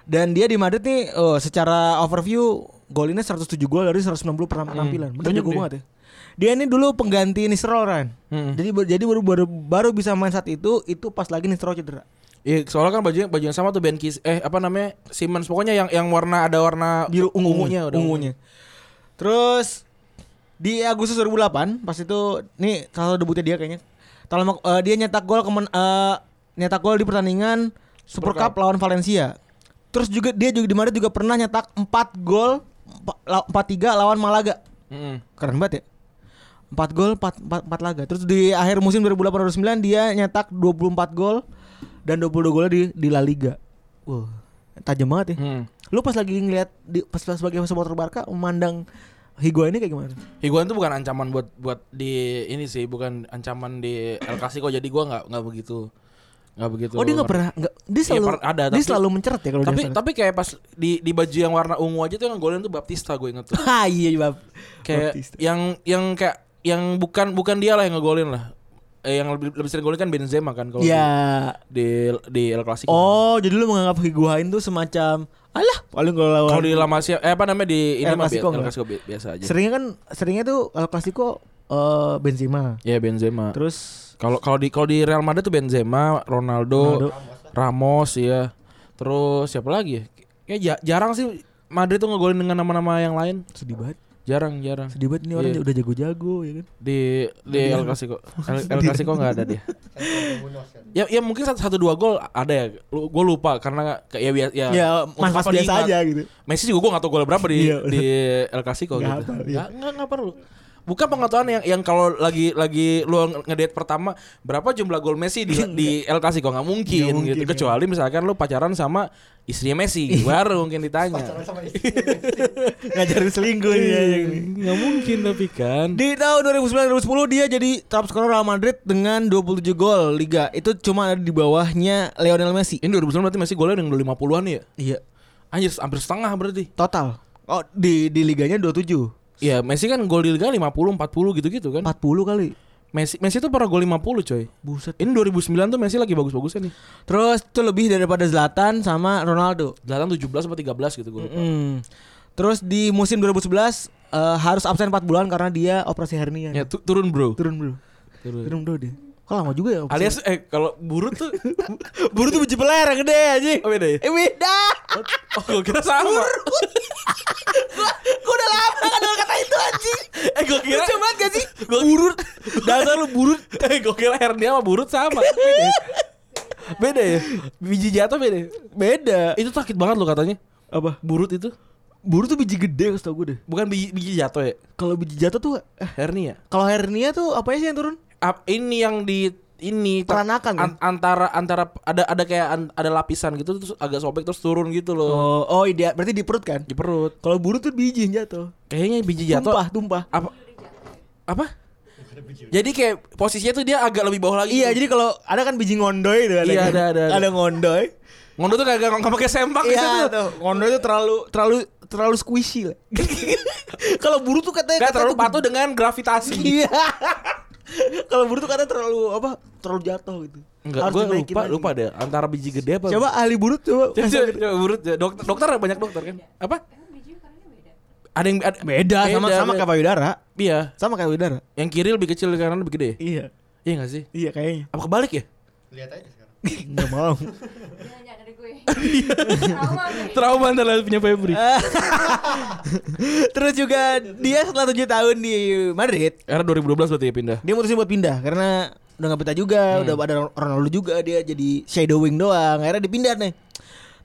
Dan dia di Madrid nih eh, secara overview golinnya 107 gol dari 190 pernah penampilan. Bener
Banyak
jago
dia.
banget ya. Dia ini dulu pengganti Nisro kan.
Hmm.
Jadi baru- jadi baru, baru baru bisa main saat itu itu pas lagi Nisro cedera.
Iya, soalnya kan bajunya baju yang sama tuh Ben Kis eh apa namanya? Simmons pokoknya yang yang warna ada warna
biru ungu
ungunya udah
ungunya. Terus di Agustus 2008 pas itu nih salah satu debutnya dia kayaknya. Talamak eh, dia nyetak gol kemen eh, nyetak gol di pertandingan Super, Cup. lawan Valencia. Terus juga dia juga di Madrid juga pernah nyetak 4 gol 4 3 lawan Malaga.
Mm-mm.
Keren banget ya. 4 gol 4, 4, laga. Terus di akhir musim 2008-2009 dia nyetak 24 gol dan 22 golnya di di La Liga. Wah, tajam banget ya.
Hmm.
Lu pas lagi ngeliat di, pas, pas sebagai supporter Barca memandang Higuain ini kayak gimana?
Higuain tuh bukan ancaman buat buat di ini sih, bukan ancaman di El Clasico jadi gua nggak nggak begitu nggak begitu.
Oh dia nggak pernah nggak dia selalu
per- ada,
dia
tapi-
selalu menceret ya kalau
Tapi
dia.
tapi kayak pas di di baju yang warna ungu aja tuh yang golin tuh Baptista gue inget tuh.
Ah, iya bab.
kayak
Baptista.
yang yang kayak yang bukan bukan dia lah yang ngegolin lah. Eh, yang lebih lebih sering golin kan Benzema kan kalau
Ya.
di di- di El Clasico.
Oh jadi lu menganggap Higuain tuh semacam alah paling kalau lawan
Kalau di La Masia eh apa namanya di ini
El
mah bi-
Clasico
El
nggak?
Clasico bi- biasa aja.
seringnya kan seringnya tuh El Clasico eh, Benzema.
Ya Benzema.
Terus
Kalau kalau di kalau di Real Madrid tuh Benzema, Ronaldo,
Ronaldo.
Ramos ya. Terus siapa lagi? ya? Kayak ja- jarang sih Madrid tuh ngegolin dengan nama-nama yang lain.
sedih banget,
Jarang, jarang.
sedih banget ini orang
Iya.
udah jago-jago ya kan.
Di di El Clasico. El, El Clasico nggak ada dia. Ya ya mungkin satu, satu dua gol ada ya. Lu- Gue lupa karena nggak- ya biasa ya.
Ya, mas-mas
apa
biasa
diingat.
aja gitu.
Messi juga gue gak tau gol berapa di
Iya,
di El Clasico
Nggak
gitu.
hafal, iya.
Nggak- nggak- nggak perlu. Bukan pengetahuan yang yang kalau lagi lagi lu ngedate pertama berapa jumlah gol Messi di di El Clasico nggak mungkin,
Iya. Nggak mungkin,
gitu.
Iya. ya.
Kecuali misalkan lu pacaran sama istrinya Messi baru mungkin ditanya.
sama istri.
Ngajarin
Iya,
selingkuh ya ini.
Nggak mungkin tapi kan.
Di tahun 2009-2010 dia jadi top scorer Real Madrid dengan 27 gol Liga. Itu cuma ada di bawahnya Lionel Messi.
Ini 2009 berarti Messi golnya yang 50-an ya.
Iya,
Anjir hampir setengah berarti.
total. Oh, di di liganya 27.
Ya Messi kan gol di Liga 50, 40 gitu-gitu kan.
40 kali.
Messi Messi tuh pernah gol 50 coy.
Buset.
Ini 2009 tuh Messi lagi bagus-bagusnya nih.
Terus itu lebih daripada Zlatan sama Ronaldo.
Zlatan 17 apa 13 gitu gue lupa.
Hmm. Terus di musim 2011 eh, harus absen 4 bulan karena dia operasi hernia.
Ya tu- turun bro.
Turun bro.
Turun.
Turun bro dia. Kok lama juga ya? operasi?
Alias eh kalau burut tuh
buru tuh biji peler yang gede anjing.
Oh, beda ya?
Eh beda.
oh gua kira sama.
Gua udah lama kan dengar kata itu anjing.
eh gua kira
Lucu banget gak sih?
gua, burut. Dasar lu burut. eh gua kira hernia sama burut sama. Beda ya? Beda ya? Biji jatuh beda. ya?
Beda.
Itu sakit banget lo katanya.
Apa?
Burut itu
Buru tuh biji gede tau gue deh.
bukan biji, biji jatuh ya?
Kalau biji jatuh tuh eh,
Hernia.
kalau hernia tuh apanya sih yang turun?
Ap- ini yang di ini ter-
Peranakan, kan?
an- antara antara ada ada kayak an- ada lapisan gitu terus agak sobek terus turun gitu loh
Oh, oh iya, berarti di perut kan?
di perut.
Kalau buru tuh biji yang jatuh.
Kayaknya biji jatuh
Tumpah, tumpah.
apa apa jadi kayak posisinya tuh dia agak lebih bawah lagi
Iya, jadi kalau ada kan biji ngondoy itu ada.
Iya,
kan?
ada, ada, ada.
Ada ngondoy.
ngondo tuh kagak nggak pakai sempak di situ
Iya, tuh. Ngondoy tuh terlalu terlalu terlalu squishy lah. kalau buru tuh katanya
nggak
katanya
terlalu
tuh
patuh dengan gravitasi
Iya. Kalau buru tuh katanya terlalu apa? Terlalu jatuh gitu.
Enggak,
Harus
gue
dinaikin
lupa
lagi.
lupa deh antara biji gede apa
Coba ahli buru coba.
coba, coba, coba urut ya. dokter dokter banyak dokter kan apa
Emang biji ukurannya beda.
ada yang ada,
Beda, sama sama
beda.
kayak payudara.
iya
Sama kayak payudara.
yang kiri lebih kecil yang kanan lebih gede ya?
Iya.
iya nggak sih
Iya kayaknya.
apa kebalik ya
Lihat aja sekarang.
Enggak mau.
Jangan-jangan dari gue.
Trauma nih.
Trauma ntar lihat punya Febri.
Terus juga dia setelah 7 tahun di Madrid,
Era 2012 berarti ya pindah.
dia mutusin buat pindah karena udah nggak betah juga, udah ada Ronaldo juga dia jadi shadowing doang. Akhirnya dipindah nih.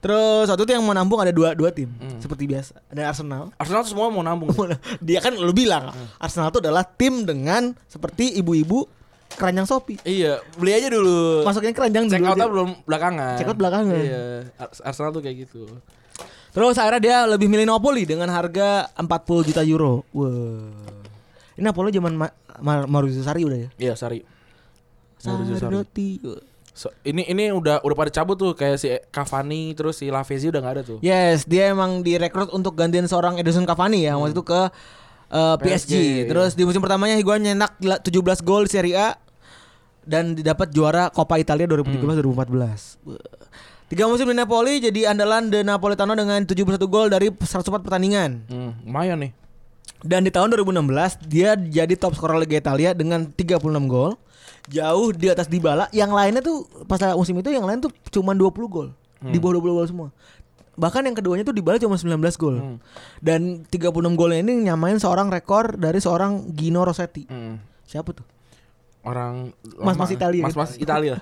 Terus waktu itu yang mau nampung ada dua dua tim seperti biasa. Ada Arsenal.
Arsenal tuh semua mau nampung.
dia kan lu bilang Arsenal itu adalah tim dengan seperti ibu-ibu keranjang Shopee.
iya, beli aja dulu.
Masukin keranjang
Check
dulu
outnya
dia.
belum belakangan.
Gitu Check out belakangan.
Iya, Ar- Arsenal tuh kayak gitu.
Terus akhirnya dia lebih milih Napoli dengan harga 40 juta euro. Wah. Ini Napoli zaman Ma Ma- Maurizio Sarri udah ya.
Iya, Sari. Maurizio Sarri.
Sardotti.
So, ini ini udah udah pada cabut tuh kayak si Cavani terus si Lavezzi udah nggak ada tuh.
Yes, dia emang direkrut untuk gantiin seorang Edison Cavani ya waktu itu ke eh, PSG.
PSG, iya.
Terus di musim pertamanya Higuain nyetak gila- 17 gol di Serie A dan didapat juara Coppa Italia 2013-2014. Tiga musim di Napoli jadi andalan De Napolitano dengan 71 gol dari 104 pertandingan.
Hmm, lumayan nih.
Dan di tahun 2016 dia jadi top scorer Liga Italia dengan 36 gol. Jauh di atas Dybala. Yang lainnya tuh pas musim itu yang lain tuh cuma 20 gol.
Hmm.
Di bawah 20 gol semua. Bahkan yang keduanya tuh Dybala cuma 19 gol.
Hmm.
Dan 36 golnya ini nyamain seorang rekor dari seorang Gino Rossetti.
Hmm.
Siapa tuh?
Orang
Mas-mas
lama.
Italia.
Mas-mas Italia.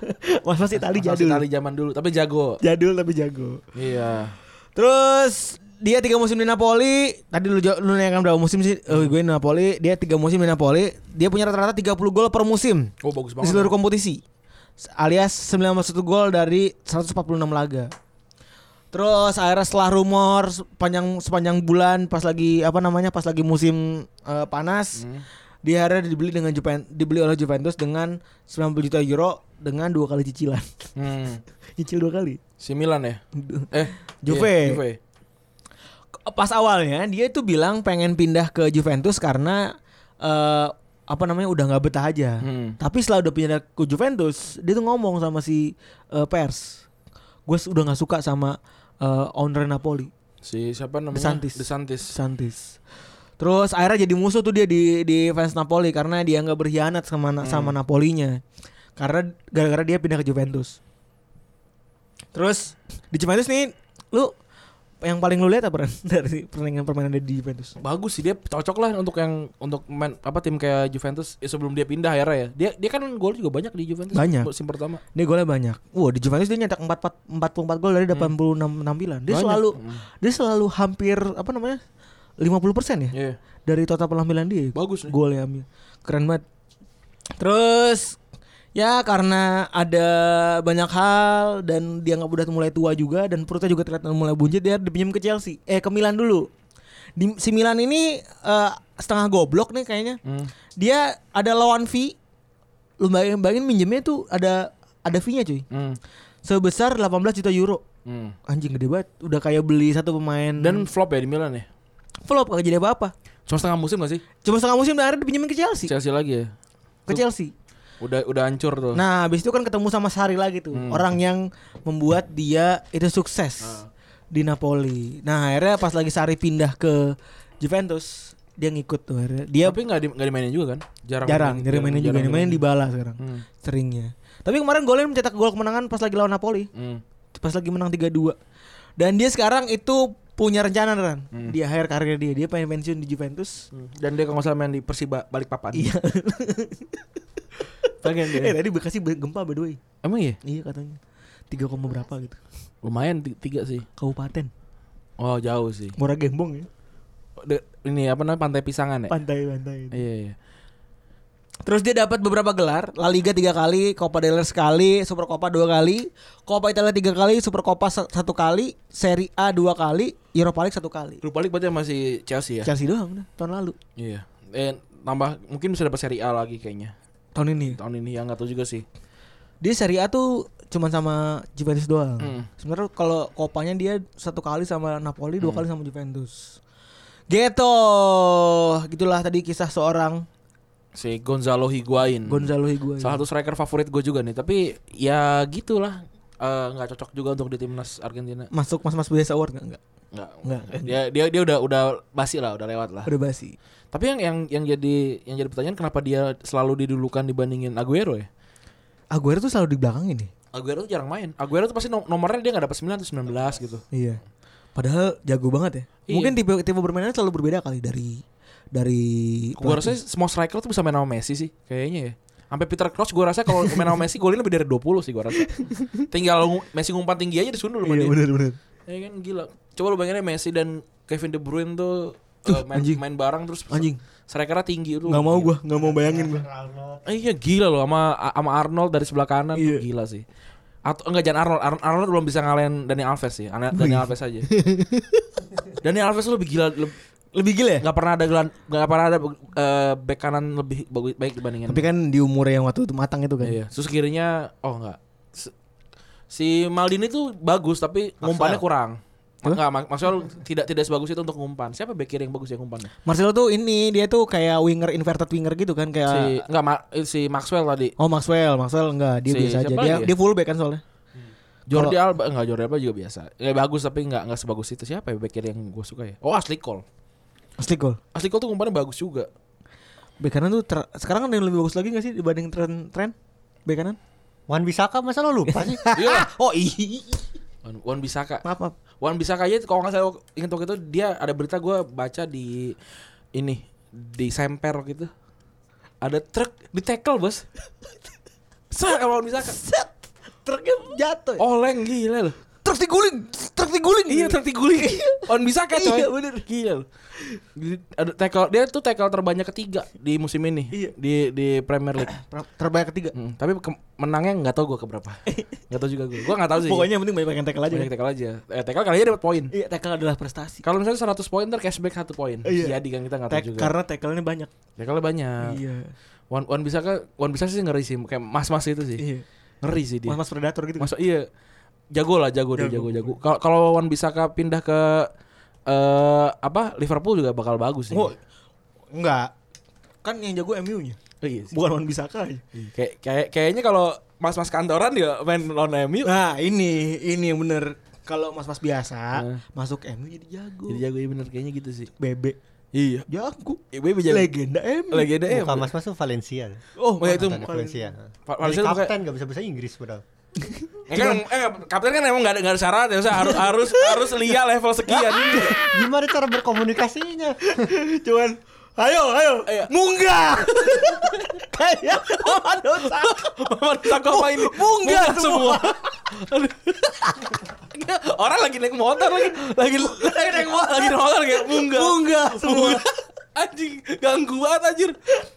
Mas-mas Itali
Mas
jadul.
Italia zaman dulu, tapi jago.
Jadul tapi jago.
Iya.
Terus dia tiga musim di Napoli. Tadi lu jawab- lu nanya kan berapa musim sih? Eh, gue di Napoli. Dia tiga musim di Napoli. Dia punya rata-rata 30 gol per musim
Oh, bagus
di
banget.
seluruh kompetisi. Alias 91 gol dari 146 laga. Terus akhirnya setelah rumor sepanjang sepanjang bulan pas lagi apa namanya pas lagi musim eh, panas dia akhirnya dibeli dengan Juven- dibeli oleh Juventus dengan 90 juta euro dengan dua kali cicilan.
Hmm.
Cicil dua kali.
Si Milan ya? Eh,
Juve.
iya, Juve.
pas awalnya dia itu bilang pengen pindah ke Juventus karena eh, apa namanya udah nggak betah aja.
Hmm.
Tapi setelah udah pindah ke Juventus, dia tuh ngomong sama si eh, pers, gue udah nggak suka sama eh, owner Napoli,
Si siapa namanya?
Desantis.
Desantis.
Santis. Terus akhirnya jadi musuh tuh dia di di fans Napoli karena dia nggak berkhianat sama na- sama Napolinya. Karena gara-gara dia pindah ke Juventus. Terus di Juventus nih lu yang paling lu lihat apa Ren? dari permainan-permainan dia di Juventus?
Bagus sih dia cocok lah untuk yang untuk main apa tim kayak Juventus eh, sebelum dia pindah akhirnya ya. Dia dia kan gol juga banyak di Juventus
Banyak.
musim pertama.
Dia golnya banyak. Hmm. Wah, di Juventus dia nyetak 44 44 gol dari 86 penampilan. Dia
Banyak.
selalu
Hmm.
dia selalu hampir apa namanya? 50% ya
Iya.
dari total penampilan dia.
Bagus nih.
Golnya ambil. Keren banget. Terus ya karena ada banyak hal dan dia nggak udah mulai tua juga dan perutnya juga terlihat mulai buncit dia dipinjam ke Chelsea. Eh ke Milan dulu. Di, si Milan ini eh, setengah goblok nih kayaknya.
Hmm.
Dia ada lawan fee. Lu bayangin, bayangin minjemnya tuh ada ada fee-nya cuy.
Hmm.
Sebesar 18 juta euro.
Hmm.
Anjing gede banget. Udah kayak beli satu pemain
Dan flop ya di Milan ya.
flop kagak jadi apa-apa.
Cuma setengah musim gak sih?
Cuma setengah musim dan akhirnya dipinjemin ke Chelsea.
Chelsea lagi ya.
Ke Chelsea.
Udah udah hancur tuh.
Nah, habis itu kan ketemu sama Sari lagi tuh.
Hmm.
Orang yang membuat dia itu sukses
Ah.
di Napoli. Nah, akhirnya pas lagi Sari pindah ke Juventus, dia ngikut tuh akhirnya. Dia
Tapi nggak di, nggak dimainin juga kan? Jarang.
ya- jarang, jarang mainnya juga. Dia mainin di bala sekarang.
Hmm.
Seringnya. Tapi kemarin golin mencetak gol kemenangan pas lagi lawan Napoli.
Hmm.
Pas lagi menang 3-2. Dan dia sekarang itu punya rencana Ran.
Hmm.
Di akhir karir dia, dia pengen pensiun di Juventus.
Dan dia kalau nggak salah main di Persiba balik papan.
Iya.
Pengen dia.
eh, tadi Bekasi be- gempa by the way.
Emang iya?
Iya katanya. 3, koma berapa gitu.
Lumayan ti- tiga sih.
Kabupaten.
Oh jauh sih.
Muara Gembong ya.
De- ini apa namanya pantai pisangan ya?
Pantai-pantai.
Iya iya.
Terus dia dapat beberapa gelar, La Liga tiga kali, Copa del Rey sekali, Super Copa dua kali, Copa Italia tiga kali, Super Copa sa- satu kali, Serie A dua kali, Europa League satu kali.
Lu balik berarti masih Chelsea ya?
Chelsea doang udah, tahun lalu.
Iya. Eh tambah mungkin bisa dapat Serie A lagi kayaknya.
Tahun ini.
Tahun ini ya nggak tahu juga sih.
Dia Serie A tuh cuman sama Juventus doang.
Hmm.
Sebenarnya kalau Copanya dia satu kali sama Napoli,
Hmm.
dua kali sama Juventus. Gitu. Gitulah tadi kisah seorang
Si Gonzalo Higuain.
Gonzalo Higuain.
Hmm. Salah satu striker favorit gue juga nih, tapi ya gitulah. Eh, nggak cocok juga untuk di timnas Argentina.
Masuk Mas-mas Biasa Award enggak? Enggak.
Nggak.
Nggak.
Dia dia dia udah udah basi lah, udah lewat lah.
Udah basi.
Tapi yang yang yang jadi yang jadi pertanyaan kenapa dia selalu didulukan dibandingin Aguero ya?
Aguero tuh selalu di belakang ini.
Aguero tuh jarang main. Aguero tuh pasti nom- nomornya dia nggak dapat 9 atau 19 gitu.
Iya. Padahal jago banget ya.
Iya.
Mungkin tipe tipe permainannya selalu berbeda kali dari dari
Gue rasa semua striker tuh bisa main sama Messi sih kayaknya ya. Sampai Peter Crouch gue rasa kalau main sama Messi golin lebih dari 20 sih gue rasa. Tinggal ngu- Messi ngumpan tinggi aja disundul sama
Iya,
dia.
benar benar.
Ya kan gila. Coba lu bayangin ya Messi dan Kevin De Bruyne tuh, eh, main,
anjing.
main bareng terus
Anjing.
strikernya tinggi lu.
Enggak mau gua, enggak mau bayangin gua.
Ronaldo.
Eh, Iya gila loh sama sama Arnold dari sebelah kanan tuh
Iya.
gila sih. Atau enggak jangan Arnold, Arnold, Arnold belum bisa ngalahin Dani Alves sih. Ana- Dani Alves aja. Dani Alves tuh lebih gila leb-
Lebih gila ya?
nggak pernah ada gelan, nggak pernah ada eh, back kanan lebih bagus baik dibandingin.
Tapi kan di umur yang waktu itu matang itu kan.
iya. Terus kirinya oh enggak. S- Si Maldini tuh bagus tapi ngumpannya kurang. Enggak, mak maksudnya lu tidak tidak sebagus itu untuk ngumpan. Siapa back kiri yang bagus yang ngumpannya?
Marcelo tuh ini dia tuh kayak winger inverted winger gitu kan kayak
Si enggak Ma- eh, si Maxwell tadi.
Oh Maxwell, Maxwell enggak, dia
Si
biasa aja.
siapa
Dia
lagi ya?
dia full back kan soalnya.
Jordi Alba enggak Jordi Alba juga biasa. Ya bagus tapi enggak enggak sebagus itu. Siapa ya back kiri yang gue suka ya? Oh, Ashley Cole.
Pasti gol.
Ashley Cole tuh ngumpannya bagus juga.
Bek kanan tuh ter- sekarang ada yang lebih bagus lagi gak sih dibanding tren tren bek kanan?
Wan Bisaka masa lo lupa sih?
Iya.
Oh iya.
Wan- Wan Bisaka.
Maaf maaf.
Wan Bisaka aja gitu. kalau nggak salah ingat waktu itu dia ada berita gue baca di ini di semper gitu ada truk di tackle bos Set Wan Bisaka
Set. Truknya jatuh. Oh,
oleng gila loh
truk diguling, truk diguling.
iya truk diguling Wan Bisaka coy
Iya,
bener gila loh Di- ada tackle dia tuh tackle terbanyak ketiga di musim ini
Iya.
di di Premier League
Ter- terbaik ketiga.
Hmm, tapi ke- menangnya nggak tau gue keberapa nggak tau juga gue gue nggak tau sih
Pokoknya yang penting banyak yang tackle aja.
banyak
kan?
tackle aja eh, tackle kali aja dapat poin
Iya, tackle adalah prestasi.
kalau misalnya 100 poin ntar cashback 1 poin
Iya.
jadi kan kita nggak
Tek-
tahu Kan juga
karena tackle-nya banyak.
Ya kalau banyak.
Iya.
One One bisa ke One bisa sih ngeri sih kayak mas-mas itu sih.
Iya.
Ngeri sih dia.
Mas-mas predator gitu.
Masa iya jago lah jago dia
Jago.
jago jago. Kalau kalau One bisa ke pindah ke eh apa Liverpool juga bakal bagus sih.
Oh, enggak. Kan yang jago MU-nya,
iya sih.
bukan Wan Bisaka aja.
Iya. Kayak kayak kayaknya kalau mas-mas kantoran ya main lawan MU
Nah, ini ini yang bener. Kalau mas-mas biasa
Nah.
masuk MU jadi jago.
jadi jago ya bener kayaknya gitu sih.
Bebek
Iya.
jago.
Ibu ibu jago.
Legenda MU.
Legenda ya.
Bukan mas mas tuh Valencia.
Oh, ya itu
Anak Valencia.
Val- Valencia
Valencia
tuh
kapten nggak bisa bahasa Inggris padahal.
ya kan, eh, kapten kan emang gak ada, nggak ada syarat ya Maksudnya harus harus harus lia level sekian.
Nah,
Gimana cara berkomunikasinya?
Cuman ayo ayo.
Ayo.
Munggah. Kayak Wan Bisaka.
Paman Sakoma ini
Munggah semua.
Aduh. Orang lagi naik motor lagi lagi lagi naik motor lagi naik motor kayak munggah.
Munggah semua.
Munggah. Anjing gangguan anjir.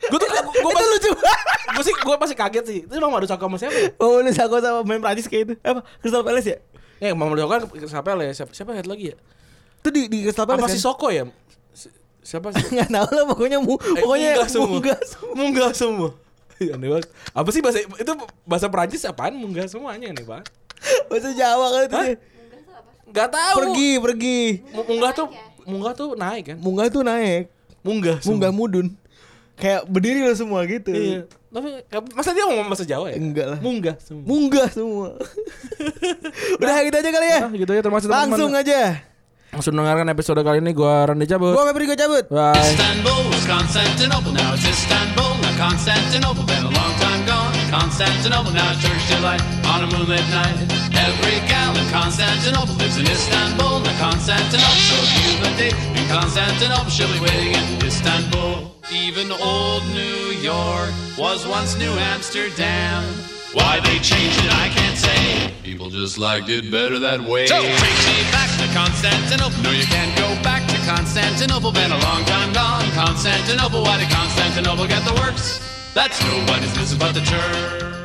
Gue tuh gue pas lucu. Gue sih gue pasti kaget sih. Itu Mamadou Sakoma siapa? ya?
Oh, ini Sako sama main Prancis kayak itu. Apa? Crystal Palace ya?
Eh Mamadou Sakoma siapa ya? Siapa siapa head lagi ya?
Itu di di Crystal Palace.
Apa
kan?
si Soko ya? Si- Siapa sih?
nggak tahu lah pokoknya mu
Eh,
pokoknya
munggah semua.
munggah
Munggah semua. Ih, Aneh banget. Apa sih bahasa itu bahasa Prancis apaan? Munggah semuanya aneh banget.
bahasa Jawa kan itu
Hah?
dia.
Munggah tuh apa?
Gak tahu.
pergi pergi
Mu- Munggah tuh munggah tuh naik kan?
munggah tuh naik
Munggah. semua.
munggah mudun kayak berdiri lo semua gitu
Iya. Tapi masa dia ngomong bahasa Jawa ya?
Enggak lah.
Munggah.
munggah semua udah gitu aja kali ya
Nah, gitu aja termasuk
langsung aja
Langsung dengarkan episode kali ini gua Randy cabut.
gua Mepri gua cabut
Bye.
Istanbul was Constantinople, now it's Istanbul, now Constantinople, been a long time gone. Constantinople, now it's Turkish delight on a moonlit night. Every gal in Constantinople lives in Istanbul, now Constantinople, so if you've a date in Constantinople, she'll be waiting in Istanbul. Even old New York was once New Amsterdam. Why they changed it, I can't say. People just liked it better that way. So take me back to Constantinople. No, you can't go back to Constantinople. Been a long time gone. Constantinople, why did Constantinople get the works? That's nobody's business but the church.